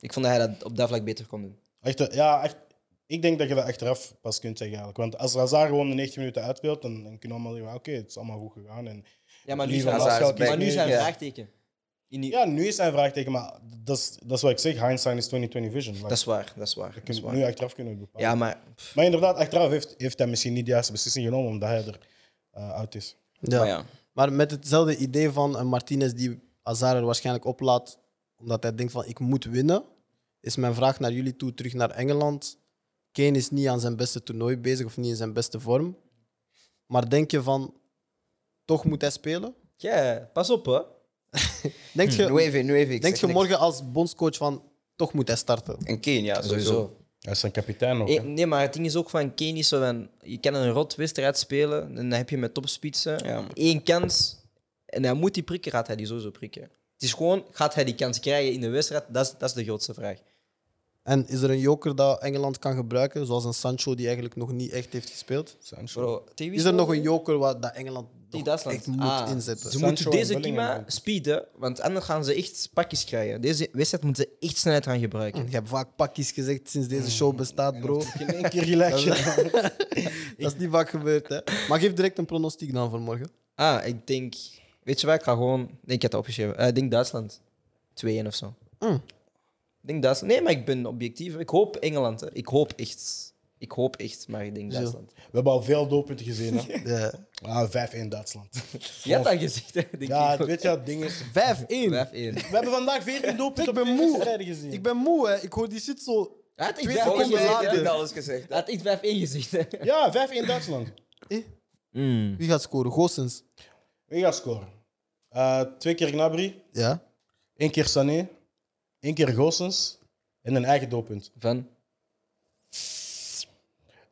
Speaker 4: Ik vond dat hij dat op dat vlak beter kon doen.
Speaker 2: Echt, eh, ja, echt, ik denk dat je dat achteraf pas kunt zeggen. Eigenlijk. Want als Hazard gewoon de 90 minuten uitspeelt, dan, dan kunnen we allemaal zeggen, oké, het is allemaal goed gegaan. En,
Speaker 4: Ja, maar nu
Speaker 2: Liever
Speaker 4: zijn,
Speaker 1: Hazard is
Speaker 4: maar
Speaker 1: back.
Speaker 4: nu zijn
Speaker 1: Ja.
Speaker 4: vraagteken. In die-
Speaker 2: ja, nu is hij een vraagteken, maar dat is, dat is wat ik zeg. Hindsight is 2020 vision. Like,
Speaker 4: Dat is waar, dat is waar. Dat
Speaker 2: kun
Speaker 4: is
Speaker 2: je
Speaker 4: waar.
Speaker 2: nu achteraf kunnen we het bepalen.
Speaker 4: Ja, maar
Speaker 2: Maar inderdaad, achteraf heeft, heeft hij misschien niet de juiste beslissing genomen, omdat hij er eh, uit is.
Speaker 3: ja.
Speaker 1: Maar ja.
Speaker 3: Maar met hetzelfde idee van een Martinez die Hazard er waarschijnlijk oplaat, omdat hij denkt van ik moet winnen, is mijn vraag naar jullie toe terug naar Engeland. Kane is niet aan zijn beste toernooi bezig of niet in zijn beste vorm. Maar denk je van, toch moet hij spelen?
Speaker 4: ja, pas op hè.
Speaker 3: Denk je,
Speaker 1: Nu even, nu even. Hmm, ik
Speaker 3: denk
Speaker 1: zeg
Speaker 3: je
Speaker 1: niks.
Speaker 3: morgen als bondscoach van, toch moet hij starten?
Speaker 1: En Kane, ja, sowieso.
Speaker 4: Sowieso.
Speaker 2: Hij is zijn kapitein nog.
Speaker 4: Eh,
Speaker 2: hè.
Speaker 4: Nee, maar het ding is ook van Kane is zo van, je kan een rot wedstrijd spelen en dan heb je met topspitsen
Speaker 1: Ja, man.
Speaker 4: één kans en hij moet die prikken, gaat hij die sowieso prikken. Het is gewoon, gaat hij die kans krijgen in de wedstrijd? Dat is, dat is de grootste vraag.
Speaker 3: En is er een joker dat Engeland kan gebruiken, zoals een Sancho die eigenlijk nog niet echt heeft gespeeld?
Speaker 2: Sancho.
Speaker 4: Bro, tegen wie
Speaker 3: Is er
Speaker 4: speelden
Speaker 3: nog
Speaker 4: we?
Speaker 3: een joker waar dat Engeland
Speaker 4: Die
Speaker 3: nog
Speaker 4: Duitsland.
Speaker 3: echt moet
Speaker 4: Ah,
Speaker 3: inzetten?
Speaker 4: Ze
Speaker 2: Sancho
Speaker 4: moeten
Speaker 2: en
Speaker 4: deze
Speaker 2: Bellingham
Speaker 4: Kima
Speaker 2: ook.
Speaker 4: speeden, want anders gaan ze echt pakjes krijgen. Deze wedstrijd moeten ze echt snelheid gaan gebruiken.
Speaker 3: Je hebt vaak pakjes gezegd sinds
Speaker 2: Mm.
Speaker 3: deze show bestaat, bro.
Speaker 2: In één keer relax.
Speaker 3: Dat is niet vaak gebeurd, hè. Maar geef direct een pronostiek dan voor morgen.
Speaker 4: Ah, ik denk... Weet je wat, ik ga gewoon... Nee, ik heb het opgeschreven. Eh, ik denk Duitsland. 2-1 of zo.
Speaker 3: Mm.
Speaker 4: Ik denk Duitsland. Nee, maar ik ben objectief. Ik hoop Engeland. Hè. Ik hoop echt. Ik hoop echt, maar ik denk
Speaker 3: Zo.
Speaker 4: Duitsland.
Speaker 2: We hebben al veel doelpunten gezien. Hè?
Speaker 3: Ja.
Speaker 2: Ah, 5-1 Duitsland.
Speaker 4: Je had dat gezegd, hè, denk
Speaker 2: Ja,
Speaker 4: ik. ook.
Speaker 2: weet je wat het ding is?
Speaker 3: 5-1.
Speaker 4: 5-1.
Speaker 2: We hebben vandaag 14 doelpunten
Speaker 3: Ik ben
Speaker 2: op de
Speaker 3: moe.
Speaker 2: wedstrijden gezien.
Speaker 3: Ik ben moe, hè. Ik hoor die shit zo...
Speaker 4: Hij had echt
Speaker 3: Twee
Speaker 4: 5-1
Speaker 1: Volgens mij
Speaker 3: seconden
Speaker 4: gezegd,
Speaker 1: heb
Speaker 4: hè.
Speaker 1: je
Speaker 3: later.
Speaker 1: alles gezegd.
Speaker 4: Hij had echt 5-1 gezegd. hè.
Speaker 2: Ja, 5-1 Duitsland.
Speaker 3: Eh? Wie gaat scoren? Goossens?
Speaker 2: Wie gaat scoren? Eh, twee keer Gnabry,
Speaker 3: Ja.
Speaker 2: één keer Sané, één keer Goossens en een eigen doelpunt.
Speaker 4: Van?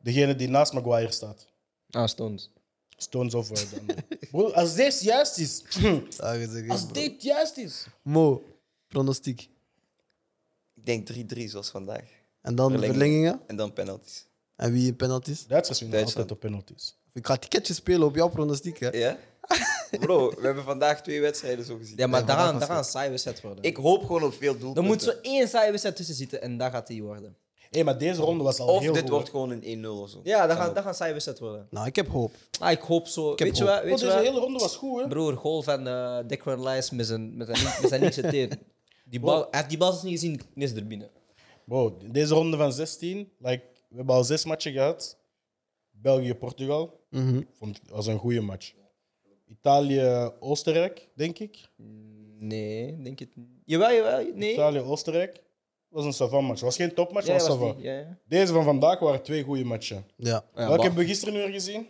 Speaker 2: Degene die naast Maguire staat.
Speaker 4: Ah, Stones.
Speaker 2: Stones of eh, de andere. Broer, als dit juist is.
Speaker 3: Ah, je zegt het,
Speaker 2: Als
Speaker 3: bro.
Speaker 2: dit juist is.
Speaker 3: Mo, pronostiek.
Speaker 1: Ik denk 3-3 zoals vandaag.
Speaker 3: En dan
Speaker 1: Verlenging.
Speaker 3: verlengingen.
Speaker 1: En dan penalties.
Speaker 3: En wie in penalties?
Speaker 2: Duitsers winnen
Speaker 1: Duitsland.
Speaker 2: altijd op penalties.
Speaker 3: Ik ga ticketje spelen op jouw pronostiek, hè.
Speaker 1: Ja? Bro, we hebben vandaag twee wedstrijden zo gezien.
Speaker 4: Ja, maar
Speaker 3: Ja,
Speaker 4: daar
Speaker 3: maar
Speaker 4: gaan
Speaker 3: dat was
Speaker 4: daar gaan een saaie wedstrijd worden.
Speaker 1: Ik hoop gewoon op veel doelpunten.
Speaker 4: Er moet zo één saaie wedstrijd tussen zitten en dat gaat die worden.
Speaker 2: Hé, maar deze ronde was al
Speaker 1: Of
Speaker 2: heel
Speaker 1: dit
Speaker 2: goed.
Speaker 1: wordt gewoon een 1-0 of zo.
Speaker 4: Ja, dat
Speaker 1: Kan
Speaker 4: gaat,
Speaker 1: ook.
Speaker 4: dat gaat een saaie wedstrijd worden.
Speaker 3: Nou, ik heb hoop.
Speaker 4: Ah, ik hoop zo.
Speaker 3: heb
Speaker 4: weet je
Speaker 3: hoop.
Speaker 4: wat?
Speaker 2: Bro,
Speaker 4: Weet je
Speaker 2: Oh, deze
Speaker 4: wat?
Speaker 2: hele ronde was goed, hè?
Speaker 4: Broer, goal van eh Declan Rice met zijn, met zijn, link- met zijn linkse teen. Die bal, hij heeft die bal zelfs niet gezien, die is er binnen.
Speaker 2: Bro, deze ronde van 16, like, we hebben al zes matchen gehad. België-Portugal
Speaker 3: Mhm.
Speaker 2: vond ik- was een goede match. Italië-Oostenrijk, denk ik.
Speaker 4: Nee, denk het niet. Jawel, jawel. Nee.
Speaker 2: Italië-Oostenrijk. was een savant match. was geen topmatch,
Speaker 4: Ja,
Speaker 2: was
Speaker 4: was
Speaker 2: savant.
Speaker 4: die, ja, ja.
Speaker 2: Deze van vandaag waren twee goede matchen.
Speaker 3: Ja.
Speaker 2: Welke hebben we gisteren weer gezien?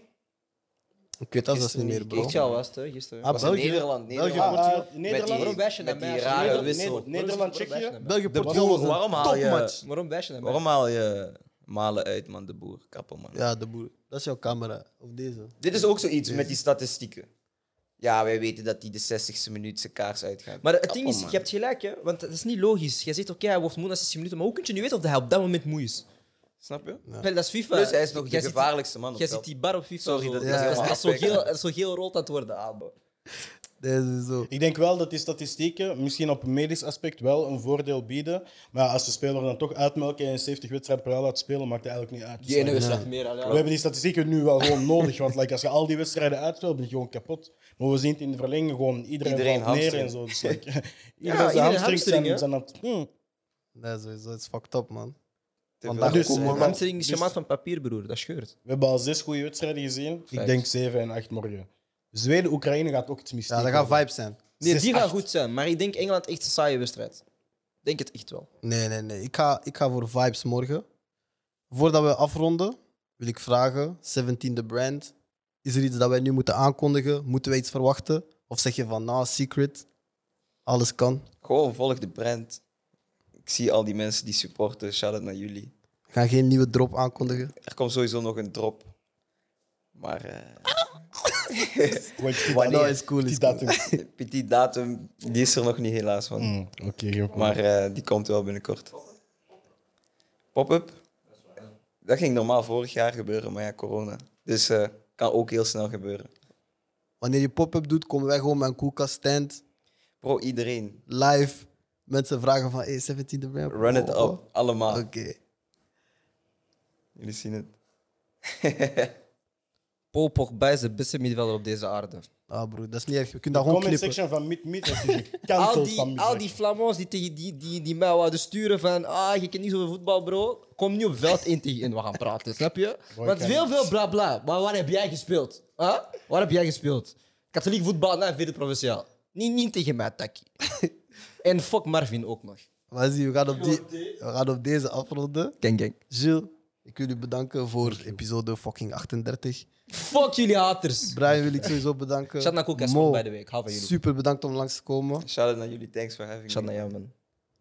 Speaker 3: Ik weet dat zelfs niet meer, bro.
Speaker 4: Echt jou was het, hè, gisteren.
Speaker 3: Ah,
Speaker 4: was in
Speaker 3: België-
Speaker 4: Nederland.
Speaker 3: België-
Speaker 4: Nederland.
Speaker 3: Portugal.
Speaker 2: Ah, Nederland.
Speaker 4: Waarom wijs je naar
Speaker 1: met
Speaker 4: mij?
Speaker 1: die
Speaker 4: als je
Speaker 1: rare
Speaker 4: Nederland-
Speaker 1: wissel.
Speaker 4: Nederland-
Speaker 2: Nederland,
Speaker 4: waarom wijs je
Speaker 2: Tsjechië?
Speaker 4: naar mij?
Speaker 3: België,
Speaker 1: De
Speaker 3: Portugal
Speaker 1: boer,
Speaker 3: was
Speaker 1: waarom
Speaker 3: een
Speaker 1: haal je-
Speaker 3: topmatch.
Speaker 4: Waarom wijs je naar mij?
Speaker 1: Waarom haal je malen uit, man, de boer? Kappen, man.
Speaker 3: Ja, de boer. Dat is jouw camera. Of deze.
Speaker 1: Dit is ook zoiets met die statistieken. Ja, wij weten dat hij de 60ste minuut zijn kaars uitgaat.
Speaker 4: Maar het ding
Speaker 1: Kappen,
Speaker 4: is, je
Speaker 1: man.
Speaker 4: hebt gelijk, hè? want het is niet logisch. Jij zegt, oké, hij wordt moe na 16 minuten, maar hoe kun je nu weten of hij op dat moment moe is?
Speaker 1: Snap je?
Speaker 4: Dat is FIFA.
Speaker 1: Plus, hij is nog
Speaker 4: Jij
Speaker 1: de
Speaker 4: ziet-
Speaker 1: gevaarlijkste man op
Speaker 4: Jij
Speaker 1: het
Speaker 4: ziet
Speaker 1: veld.
Speaker 4: die bar op FIFA.
Speaker 1: Sorry,
Speaker 4: zo.
Speaker 1: dat-
Speaker 4: dat,
Speaker 1: dat
Speaker 3: is
Speaker 4: is,
Speaker 1: helemaal
Speaker 4: dat is zo
Speaker 1: afwijken.
Speaker 4: geel, dat is zo geel rood aan het worden. Ah, bro.
Speaker 3: Deze is zo.
Speaker 2: Ik denk wel dat die statistieken misschien op een medisch aspect wel een voordeel bieden. Maar ja, als de speler dan toch uitmelken en 70 wedstrijden per jaar laat spelen, maakt het eigenlijk niet uit. Dus
Speaker 4: Die ene
Speaker 2: dan-
Speaker 4: wedstrijd meer. al, ja.
Speaker 2: We hebben die statistieken nu wel gewoon nodig. Want like, als je al die wedstrijden uitspeelt, ben je gewoon kapot. Maar we zien het in de verlenging gewoon iedereen,
Speaker 1: Iedereen
Speaker 2: valt neer
Speaker 1: hamstring.
Speaker 2: en zo. Dus like, iedereen zijn
Speaker 4: iedereen
Speaker 2: hamstrings
Speaker 4: hamstring, hè?
Speaker 2: zijn, zijn aan het... Hmm.
Speaker 3: Nee, sowieso. Het is fucked up, man.
Speaker 1: Te
Speaker 3: Vandaag
Speaker 1: veel.
Speaker 2: Dus, eh,
Speaker 4: Mijn hamstring is
Speaker 2: Dus-
Speaker 4: gemaakt van papier, broer. Dat scheurt.
Speaker 2: We hebben al zes goede wedstrijden gezien. Ik
Speaker 4: Facts.
Speaker 2: denk zeven en acht morgen. Zweden, Oekraïne gaat ook iets mystiek
Speaker 3: Ja, dat gaan
Speaker 2: worden.
Speaker 3: vibes zijn.
Speaker 4: Nee, die gaat
Speaker 2: 6-8.
Speaker 4: goed zijn, maar ik denk Engeland echt een saaie wedstrijd. Ik Denk het echt wel.
Speaker 3: Nee, nee, nee. Ik ga, ik ga voor vibes morgen. Voordat we afronden, wil ik vragen: 17 de brand. Is er iets dat wij nu moeten aankondigen? Moeten wij iets verwachten? Of zeg je van, nou, secret, alles kan?
Speaker 1: Gewoon volg de brand. Ik zie al die mensen die supporten. Shout-out naar jullie.
Speaker 3: We gaan geen nieuwe drop aankondigen.
Speaker 1: Er komt sowieso nog een drop. Maar eh
Speaker 2: Wait, die datum-
Speaker 1: Wanneer?
Speaker 3: No, is cool,
Speaker 2: die
Speaker 3: is cool.
Speaker 2: datum.
Speaker 1: die datum die is er nog niet helaas van.
Speaker 4: Mm.
Speaker 2: Hmm, Oké, geen probleem.
Speaker 1: Maar eh, die komt wel binnenkort. Pop-up? Dat ging normaal vorig jaar gebeuren, maar ja, corona. Dus eh, kan ook heel snel gebeuren.
Speaker 3: Wanneer je pop-up doet, komen wij gewoon met een koelkast stand,
Speaker 1: Bro, iedereen.
Speaker 3: live. Mensen vragen van, hey, 17 de brand.
Speaker 1: Run it
Speaker 3: Oh, oh.
Speaker 1: up. Allemaal.
Speaker 3: Oké.
Speaker 1: Jullie zien het.
Speaker 4: Paul Pogba is de beste middenvelder op deze aarde.
Speaker 3: Ah, broer, dat is niet erg. We kunnen dat gewoon
Speaker 2: Comment
Speaker 3: knippen.
Speaker 2: section van Meet Meet heeft je
Speaker 4: Al
Speaker 2: gecanceld van
Speaker 4: die,
Speaker 2: Meet
Speaker 4: al
Speaker 2: Meet.
Speaker 4: die Flamands die, tegen die, die, die mij wouden sturen van ah, je kent niet zoveel voetbal, bro. Kom nu op veld 1 tegen 1, we gaan praten, snap je? Want
Speaker 2: kan
Speaker 4: veel,
Speaker 2: niet.
Speaker 4: veel bla bla. Maar waar heb jij gespeeld? Huh? Waar heb jij gespeeld? Katholiek voetbal naar vierde provinciaal. Niet, niet tegen mij, Taki. en fuck Marvin ook nog.
Speaker 3: Maar zie, we gaan op, die, we gaan op deze afronden.
Speaker 4: Gang, gang.
Speaker 3: Gilles, ik wil u bedanken voor episode fucking 38.
Speaker 4: Fuck jullie haters.
Speaker 3: Brian wil ik sowieso bedanken.
Speaker 4: Shout naar Koekas,
Speaker 3: Mo,
Speaker 4: by the way. Ik hou van jullie.
Speaker 3: super bedankt om langs te komen.
Speaker 1: Shout-out naar jullie. Thanks for having
Speaker 4: Shout
Speaker 1: me.
Speaker 4: naar jou, man.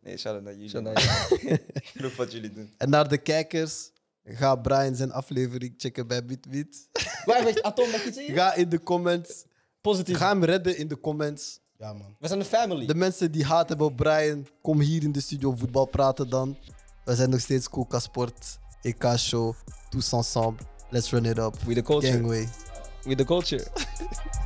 Speaker 1: Nee, shout-out naar jullie.
Speaker 4: Shout
Speaker 1: man.
Speaker 4: naar jou.
Speaker 1: Genoeg wat jullie doen.
Speaker 3: En naar de kijkers, ga Brian zijn aflevering checken bij BitBit.
Speaker 4: Waar echt Atom, mag ik iets zeggen?
Speaker 3: Ga in de comments.
Speaker 4: Positief.
Speaker 3: Ga hem redden in de comments.
Speaker 2: Ja, man.
Speaker 4: We zijn een family.
Speaker 3: De mensen die haat hebben op Brian, kom hier in de studio voetbal praten dan. We zijn nog steeds E Koeka Sport, EK Show, tous ensemble. Let's run it up.
Speaker 4: With the culture.
Speaker 3: Gangway.
Speaker 4: With the culture.